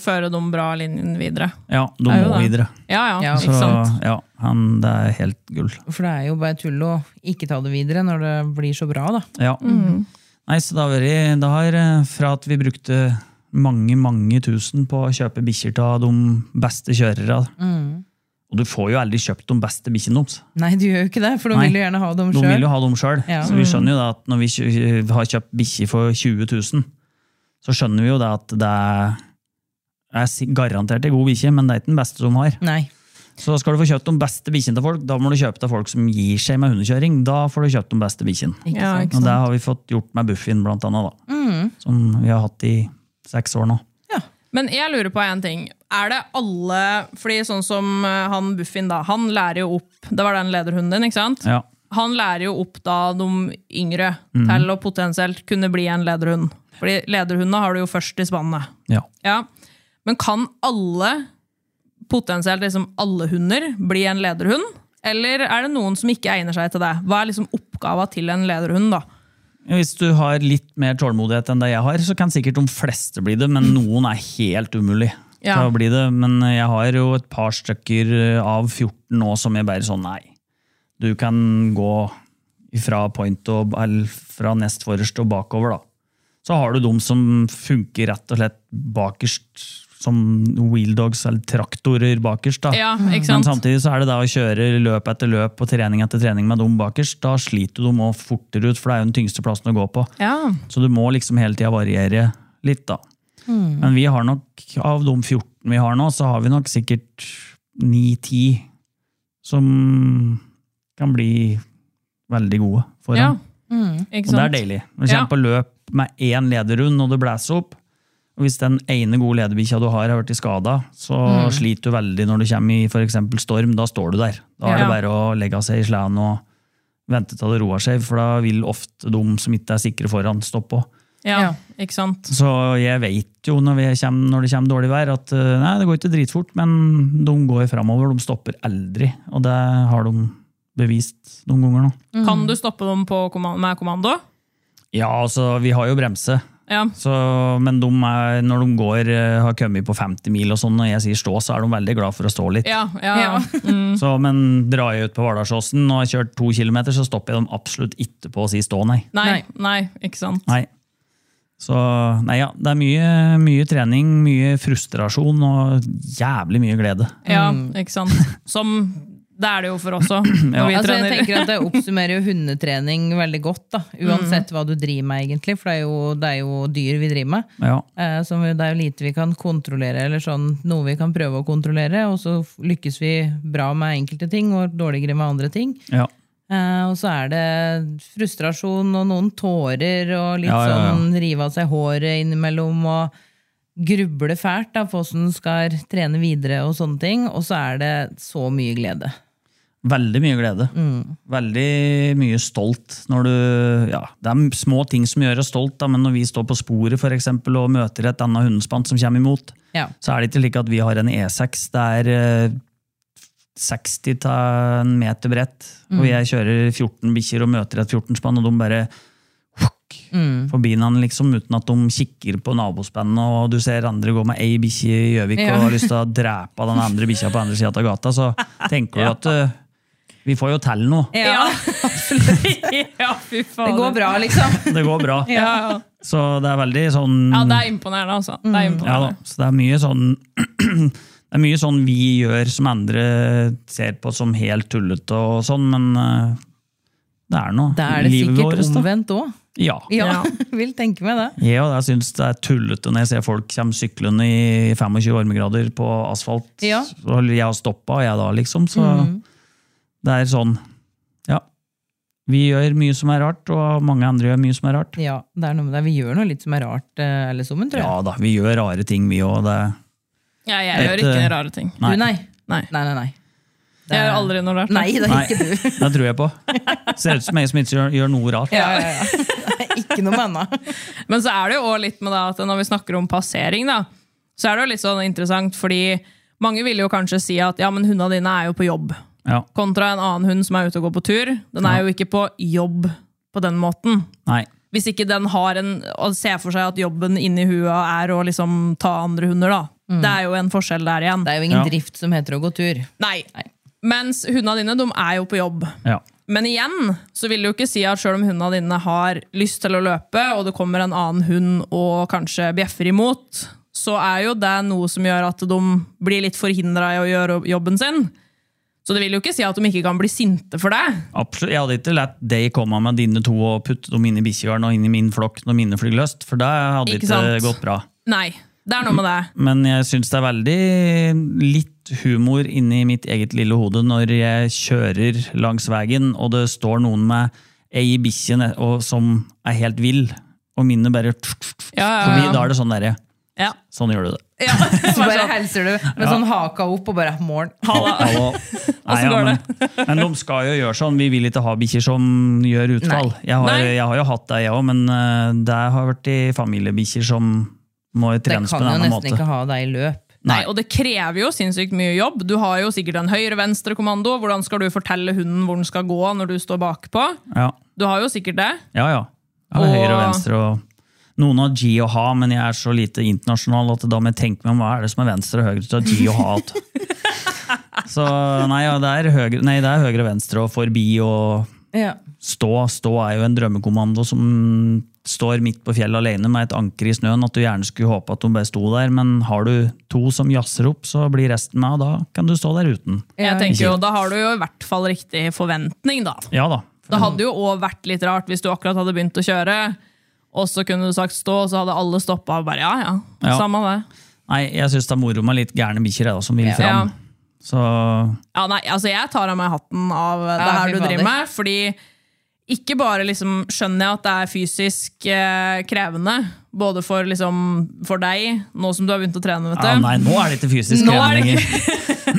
føre de bra linjene videre. Ja, de er jo må det. videre. Ja, ja, Ja. Så ikke sant? ja, han, det er helt gull. For det er jo bare tull å ikke ta det videre når det blir så bra, da. Ja. Mm. Nei, så da har vært- da har eh, fra at vi brukte mange, mange tusen på å kjøpe bikkjer av de beste kjørere Mm. Og du får jo aldri kjøpt de beste bikkjene deres. Nei, du gjør jo ikke det, for de Nei. vil jo gjerne ha dem De vil sjøl. jo ha dem sjøl. Ja. Mm. Så vi skjønner jo da at når vi kjø- har kjøpt bikkje for 20 000, så skjønner vi jo da at det er- er si- garantert en god bikkje, men det er ikke den beste de har. Nei. Så skal du få kjøpt de beste bikkjene til folk, da må du kjøpe til folk som gir seg med hundekjøring. Da får du kjøpt de beste bikkjene. Ikke Ja, sant? ikke Og det sant? Mm. har vi fått gjort med Buffin, blant annet, da. Som vi har hatt i seks år nå. Men jeg lurer på en ting. Er det alle Fordi sånn som eh, han Buffin, da. Han lærer jo opp Det var den lederhunden din, ikke sant? Ja. Mhm. Han lærer jo opp da de yngre til å potensielt kunne bli en lederhund. Fordi lederhundene har du jo først i spannet. ja. Ja. Men kan alle, potensielt liksom alle hunder, bli en lederhund? Eller er det noen som ikke egner seg til det? Hva er liksom oppgava til en lederhund, da? Hvis du har litt mer tålmodighet enn det jeg har, så kan sikkert de fleste bli det, men noen er helt umulig Ja. til å bli det. Men jeg har jo et par stykker av 14 nå som jeg bare sånn, nei. Du kan gå fra point og eller fra nest forrest og bakover, da. Så har du de som funker rett og slett bakerst, som wheeldogs eller traktorer bakerst, da. Ja, ikke Men sant? samtidig så er det da å kjøre løp etter løp og trening etter trening med dem bakerst. Da sliter du dem også fortere ut, for det er jo den tyngste plassen å gå på. Ja. Så du må liksom hele tida variere litt, da. Hmm. Men vi har nok, av de 14 vi har nå, så har vi nok sikkert 9-10 som kan bli veldig gode for ja. ham. Ikke Og det sant? er deilig. Når du kommer Ja. på løp med én lederrund og det blæser opp, og hvis den ene gode lederbikkja du har, har blitt skada, så Mm. sliter du veldig når du kommer i for eksempel storm. Da står du der. Da er Ja. det bare å legge seg i sleden og vente til det roer seg, for da vil ofte de som ikke er sikre foran, stå på. Ja, Ja. ikke sant? Så jeg vet jo når, vi kommer, når det kommer dårlig vær, at eh, nei, det går ikke dritfort, men de går framover. De stopper aldri, og det har de bevist noen ganger nå. Kan du Mm. stoppe dem på kommando, med kommando? Ja, altså, vi har jo bremse, Ja. så, men de er, når de går, eh, har kommet på 50 mil og sånn, og jeg sier stå, så er de veldig glad for å stå litt. Ja, ja, Ja. <laughs> Mm. Så, men drar jeg ut på Vardalsåsen og har kjørt to kilometer, så stopper jeg dem absolutt ikke på å si stå, nei. Nei, nei, ikke sant? Nei. Så nei ja, det er mye, mye trening, mye frustrasjon og jævlig mye glede. Ja, Mm. ikke sant? Som det er det jo for oss <clears throat> òg, når vi Altså, jeg trener. tenker at Det oppsummerer jo hundetrening veldig godt, da. uansett hva du driver med, egentlig. For det er jo, det er jo dyr vi driver med. Ja, Eh, som vi- det er jo lite vi kan kontrollere, eller sånn noe vi kan prøve å kontrollere. Og så f- lykkes vi bra med enkelte ting, og dårligere med andre ting. ja. Eh, og så er det frustrasjon og noen tårer og litt Ja, ja, ja. sånn rive av seg håret innimellom og gruble fælt da, på hvordan en skal trene videre og sånne ting. Og så er det så mye glede. Veldig mye glede. Veldig mye stolt når du Ja, det er små ting som gjør oss stolt, da, men når vi står på sporet for eksempel, og møter et annet hundespann som kommer imot, Ja. så er det ikke slik at vi har en E6. Det er eh, 60 til en meter bredt, og jeg kjører 14 bikkjer og møter et 14-spann, og de bare hukk, forbi den liksom, uten at de kikker på nabospennene, og du ser andre gå med ei bikkje i Gjøvik Ja. og har lyst til å drepe den andre bikkja på andre sida av gata, så tenker du at eh, vi får jo til noe. <laughs> Ja, <laughs> ja fy <laughs> faen. Det går bra, <laughs> liksom. Det går bra. Ja, ja. Så det er veldig sånn Mm. ja, det er imponerende, altså. Det er Ja da, imponerende. så <clears throat> det er mye sånn Det Det er mye sånn vi gjør som andre ser på som helt tullete og sånn, men eh, det er noe. Da er det Livet sikkert vårt, da. omvendt òg. Ja. Ja, Ja. <laughs> vil tenke meg det. Jeg, og jeg syns det er tullete når jeg ser folk komme syklende i 25 varmegrader på asfalt. Ja. Mm. Og jeg har stoppa, og jeg da, liksom. Så det er sånn. Ja. Vi gjør mye som er rart, og mange andre gjør mye som er rart. Ja, det er noe med det. Vi gjør noe litt som er rart, eh, alle sammen, tror jeg. Ja da, vi gjør rare ting, vi òg. Ja, jeg gjør Et, ikke eh, rare ting. Nei. Du, nei. Nei. Nei, nei, nei. Jeg gjør aldri noe rart. Nei, det er Nei. ikke du. Det tror jeg på. Ser ut som jeg som ikke gjør, gjør noe <laughs> rart. Ja, ja, ja. <laughs> Det er Ikke noe med henne. Men så er det jo også litt med det at når vi snakker om passering, da, så er det jo litt sånn interessant, fordi mange vil jo kanskje si at ja, men hundene dine er jo på jobb. Ja. Kontra en annen hund som er ute og går på tur. Den er jo ikke på jobb på den måten. Nei. Hvis ikke den har en, og ser for seg at jobben inni hua er å liksom ta andre hunder, da. Det er jo en forskjell der igjen. Mm. Det er jo ingen Ja. drift som heter å gå tur. Nei. Mens hundene dine, de er jo på jobb. Ja. Men igjen så vil det jo ikke si at selv om hundene dine har lyst til å løpe, og det kommer en annen hund og kanskje bjeffer imot, så er jo det noe som gjør at de blir litt forhindra i å gjøre jobben sin. Så det vil jo ikke si at de ikke kan bli sinte for det. Absolutt. Jeg hadde ikke latt deg komme med dine to og putte dem inn i bikkjehjørnet og inn i min flokk når mine flyr løst, for det hadde Ikke ikke, sant? gått bra. Nei, det er noe med det. Men jeg syns det er veldig litt humor inni mitt eget lille hode når jeg kjører langs veien, og det står noen med ei bikkje ne- og- som er helt vill, og mine bare Ja, Forbi, ja, Da er det sånn derre. ja. Sånn gjør du det. ja. <laughs> Så Bare bare sånn, hilser du med sånn haka opp og bare 'morn'. ha det. Hallo. <laughs> Nei, ja, går men, men de skal jo gjøre sånn. Vi vil ikke ha bikkjer som gjør utfall. Jeg har, Nei. jeg har jo hatt det, jeg òg, men eh, det har vært i familiebikkjer som må Det trenes på kan en jo annen nesten måte. ikke ha deg i løp. Nei, og det krever jo sinnssykt mye jobb. Du har jo sikkert en høyre-venstre-kommando. Hvordan skal du fortelle hunden hvor den skal gå når du står bakpå? Ja, Du har jo sikkert det. ja. ja. Jeg har Og- høyre og venstre og noen har G og H, men jeg er så lite internasjonal at da må jeg tenke meg om hva er det som er venstre og høyre til å ha G og H. alt. <laughs> Så nei, ja, det er høyre, nei, det er høyre og venstre og forbi og Ja. Stå, stå er jo en drømmekommando som står midt på fjellet alene med et anker i snøen, at du gjerne skulle håpe at de bare sto der, men har du to som jazzer opp, så blir resten med, og da kan du stå der uten. Jeg tenker jo, Da har du jo i hvert fall riktig forventning, da. Ja da. Det hadde jo òg vært litt rart hvis du akkurat hadde begynt å kjøre, og så kunne du sagt stå, og så hadde alle stoppa og bare ja, ja. Ja. Samme det. Nei, jeg syns det er moro med litt gærne bikkjer jeg da, som vil Ja. fram. Så Ja, nei, altså jeg tar av meg hatten av det Ja, fy her du fader. driver med, fordi ikke bare liksom skjønner jeg at det er fysisk eh, krevende, både for, liksom, for deg, nå som du har begynt å trene, vet du. ja, Nei, nå er det ikke fysisk Nå er det <laughs> krevende lenger.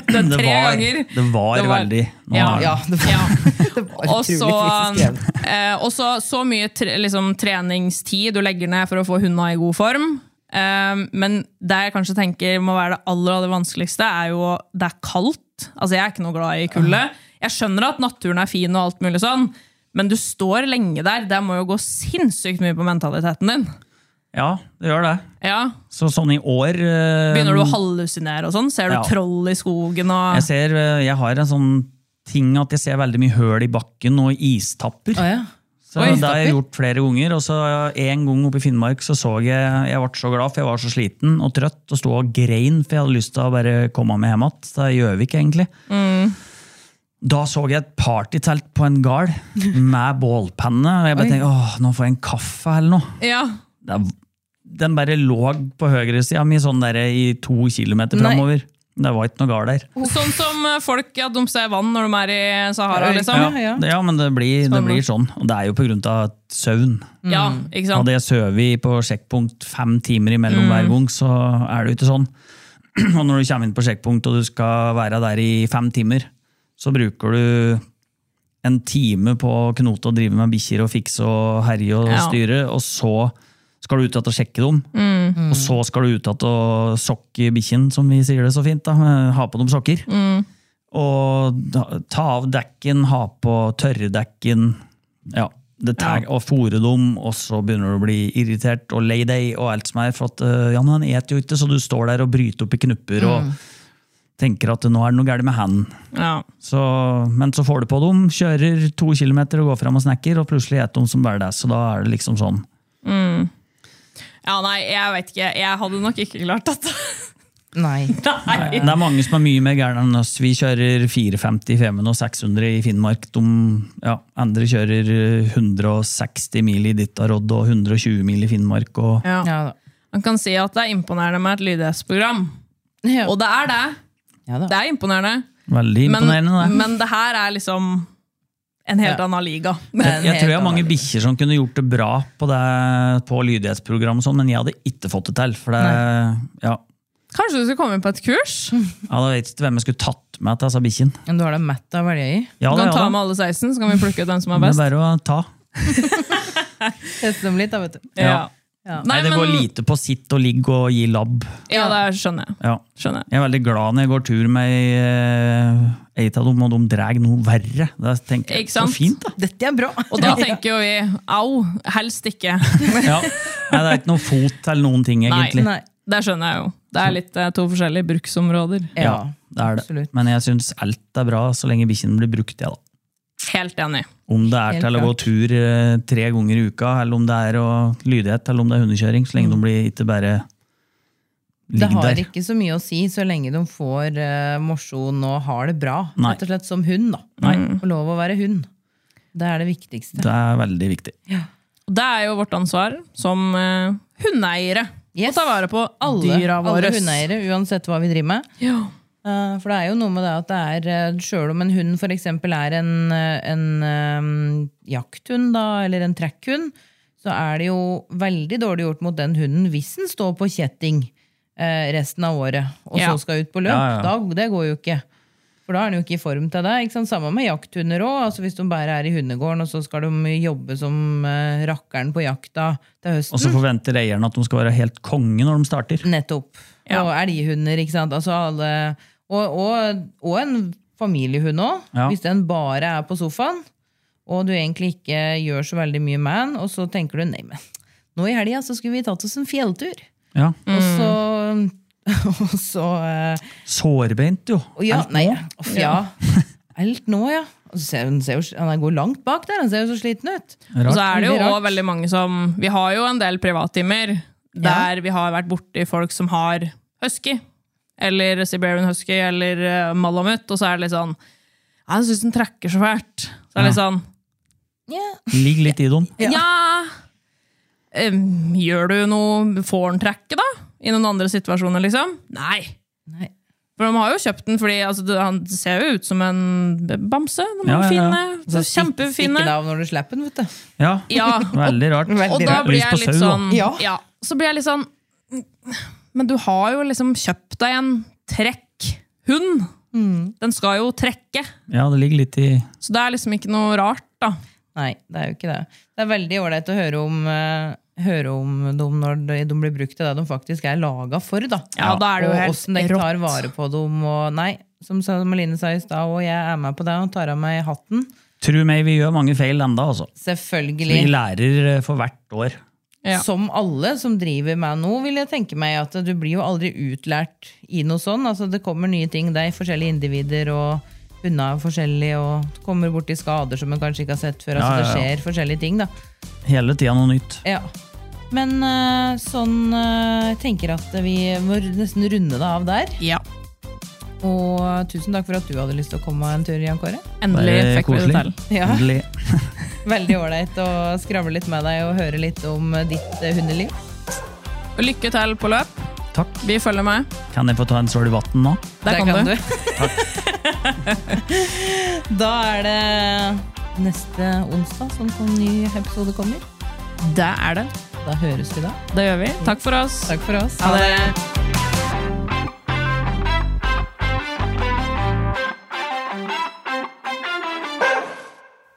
Det er Det tre var, ganger. det var Det var- veldig. Nå Ja. er det- Ja, det var, <laughs> det var Og utrolig så fysisk krevende. eh, og så- så mye tre, liksom, treningstid du legger ned for å få hundene i god form. Eh, men det jeg kanskje tenker må være det aller, aller vanskeligste, er jo det er kaldt. Altså, jeg er ikke noe glad i kulde. Jeg skjønner at naturen er fin, og alt mulig sånn, men du står lenge der. Det må jo gå sinnssykt mye på mentaliteten din. ja, det gjør det. Ja. Så sånn i år eh, Begynner du å hallusinere og sånn? Ser du Ja. troll i skogen og Jeg, ser, eh, jeg har en sånn ting at jeg ser veldig mye høl i bakken og istapper. Å, ja. Så Oi, det har jeg stopper. gjort flere ganger. Og så En gang oppe i Finnmark så så jeg Jeg ble så glad, for jeg var så sliten og trøtt og sto og grein, for jeg hadde lyst til å bare komme meg hjem igjen. Det gjør vi ikke, egentlig. Mm. Da så jeg et partytelt på en gard med bålpanne. Og jeg bare tenkte åh, nå får jeg en kaffe eller noe. Ja. Det er- Den bare lå på høyresida mi sånn der i to kilometer Nei. framover. Det var ikke noe gard der. Sånn som eh, folk ja, de ser vann når de er i Sahara, Ja, liksom. Ja, det- ja men det blir, det Sånn, da. blir sånn. Og det er jo på grunn av søvn. Ja, ikke sant? Mm. Hadde jeg sovet på sjekkpunkt fem timer imellom hver gang, så er det jo ikke sånn. <clears throat> Og når du kommer inn på sjekkpunkt og du skal være der i fem timer, så bruker du en time på å knote og drive med bikkjer og fikse og herje og Ja. styre, og så skal du ut igjen og sjekke dem. Og så skal du ut igjen og sokke bikkjen, som vi sier det så fint. da. Eh, Ha på dem sokker. Og da- ta av dekken, ha på tørre dekken. Ja, det tar, Og fôre dem, og så begynner du å bli irritert og lei deg og alt som er. For at øh, ja, men han eter jo ikke, så du står der og bryter opp i knupper og tenker at nå er det noe galt med han. Ja. Så, men så får du på dem, kjører to kilometer og går fram og snakker, og plutselig eter de som bare det. Så da er det liksom sånn. <laughs> Ja, nei, jeg vet ikke. Jeg hadde nok ikke klart dette. Nei. Det er mange som er mye mer gærne enn oss. Vi kjører 450 i Femund og 600 i Finnmark. De, ja, andre kjører 160 mil i Dittarodd og 120 mil i Finnmark. Og, Ja. Ja da. Man kan si at det er imponerende med et lydhetsprogram. Ja. Og det er det. Ja da. Det er imponerende. veldig Men, imponerende, det. men det her er liksom en helt Ja. annen liga. <laughs> Men jeg helt tror jeg har mange annerledes. bikkjer som kunne gjort det bra på, det, på lydighetsprogram, og sånn, men jeg hadde ikke fått det til. For det, ja, Kanskje du skal komme inn på et kurs? jeg hadde vet ikke hvem jeg skulle tatt med til disse bikkjene. Men du har da Matt å velge i. Ja, du da, kan ta ja, da. med alle 16, så kan vi plukke ut den som <laughs> er Det er best. bare å ta. Teste dem litt, da, vet du. Ja. Ja. Nei, det går men- lite på sitt og ligg og gi labb. Ja, det er- skjønner jeg. Ja. Skjønner jeg. Jeg er veldig glad når jeg går tur med eh, ei av dem, og de drar noe verre. Da tenker jeg, Ikke så sant? fint <laughs> da. Ah, Dette er bra! Og da tenker jo vi au, helst <laughs> ikke. Ja. Nei, det er ikke noe fot eller noen ting, Nei. egentlig. Nei. Det skjønner jeg jo. Det er litt eh, to forskjellige bruksområder. Ja, Ja, det er det. absolutt. Men jeg syns alt er bra så lenge bikkjen blir brukt. Ja, da. Helt enig. Om det er Helt til å gå klart. tur eh, tre ganger i uka, eller om det er å, lydighet, eller om det er hundekjøring. Så lenge de blir ikke bare Mm. Det ligger har der. ikke så mye å si så lenge de får eh, mosjon og har det bra. Nei. Rett og slett som hund, da. Nei. Få lov å være hund. Det er det viktigste. Det er veldig viktig. Og Det er jo vårt ansvar som eh, hundeeiere Yes. å ta vare på alle alle, dyra våre. alle hundeeiere, uansett hva vi driver med. Ja. Eh, For det er jo noe med det at det er Sjøl om en hund f.eks. er en, eh, en eh, jakthund da, eller en trekkhund, så er det jo veldig dårlig gjort mot den hunden hvis den står på kjetting eh, resten av året og Ja. så skal ut på løp. Ja, ja. Da, det går jo ikke. For da er den jo ikke i form til det. Ikke sant? Samme med jakthunder òg. Altså hvis de bare er i hundegården, og så skal de jobbe som eh, rakkeren på jakta til høsten. Og så forventer eieren at de skal være helt konge når de starter. Nettopp. Ja. Og elghunder, ikke sant. Altså alle, og, og, og en familiehund òg, Ja. hvis den bare er på sofaen, og du egentlig ikke gjør så veldig mye med den, og så tenker du nei, men nå i helga så skulle vi tatt oss en fjelltur. Ja. Mm. Og så <laughs> Og så eh, Sårbeint, jo. og ja, Alt nei, nå. uff, ja. Alt nå, ja. Og så ser, hun ser jo, han går langt bak der, han ser jo så sliten ut. Og Rart. så er det jo Veldig rart. også veldig mange som Vi har jo en del privattimer der vi har vært borti folk som har husky. Eller Siberian husky eller eh, malamut. Og så er det litt sånn Jeg syns den trekker så fælt. Så er det litt sånn Ja. Ligg litt i dem. Ja, em, Gjør du noe Får den trekke, da? I noen andre situasjoner, liksom? Nei. Nei. For de har jo kjøpt den fordi altså, det- han ser jo ut som en bamse. De er Ja, ja, ja. fine. Så Så stikk- Stikker det kjempefine. av når du slipper den, vet du. Ja, Ja, veldig rart. og Veldig da rart. blir Lyst på jeg litt sau, da. sånn Ja. ja, Så blir jeg litt sånn Men du har jo liksom kjøpt deg en trekkhund. Den skal jo trekke. Ja, det ligger litt i Så det er liksom ikke noe rart, da. Nei, det er jo ikke det. Det er veldig ålreit å høre om, eh, høre om dem når de, de blir brukt til det de faktisk er laga for. da. Ja, da er det jo og helt åssen de tar vare på dem. Og, nei, som sa- som Line sa i stad, og jeg er med på det og tar av meg hatten. Tro meg, vi gjør mange feil enda, altså. Vi Selvfølgelig. lærer eh, for hvert år. Ja. Som alle som driver med noe, vil jeg tenke meg at du blir jo aldri utlært i noe sånn. Altså, det kommer nye ting. Det er forskjellige individer, og hunder er forskjellige, og du kommer borti skader som en kanskje ikke har sett før. Altså, Ja, ja, ja. Det skjer forskjellige ting, da. Hele tida noe nytt. Ja. Men eh, sånn eh, Jeg tenker at vi må nesten runde det av der. Ja, Og tusen takk for at du hadde lyst til å komme en tur, Jan Kåre. Endelig Bare fikk vi det til. koselig. Ja. Endelig. <laughs> Veldig ålreit å skravle litt med deg og høre litt om eh, ditt eh, hundeliv. Og Lykke til på løp. Takk. Vi følger med. Kan jeg få ta en svøl i vann nå? Der kan, du. <laughs> da er det neste onsdag som en ny episode kommer. Det er det. Da høres vi da. Det gjør vi. Takk for oss. Takk for oss. Ha det.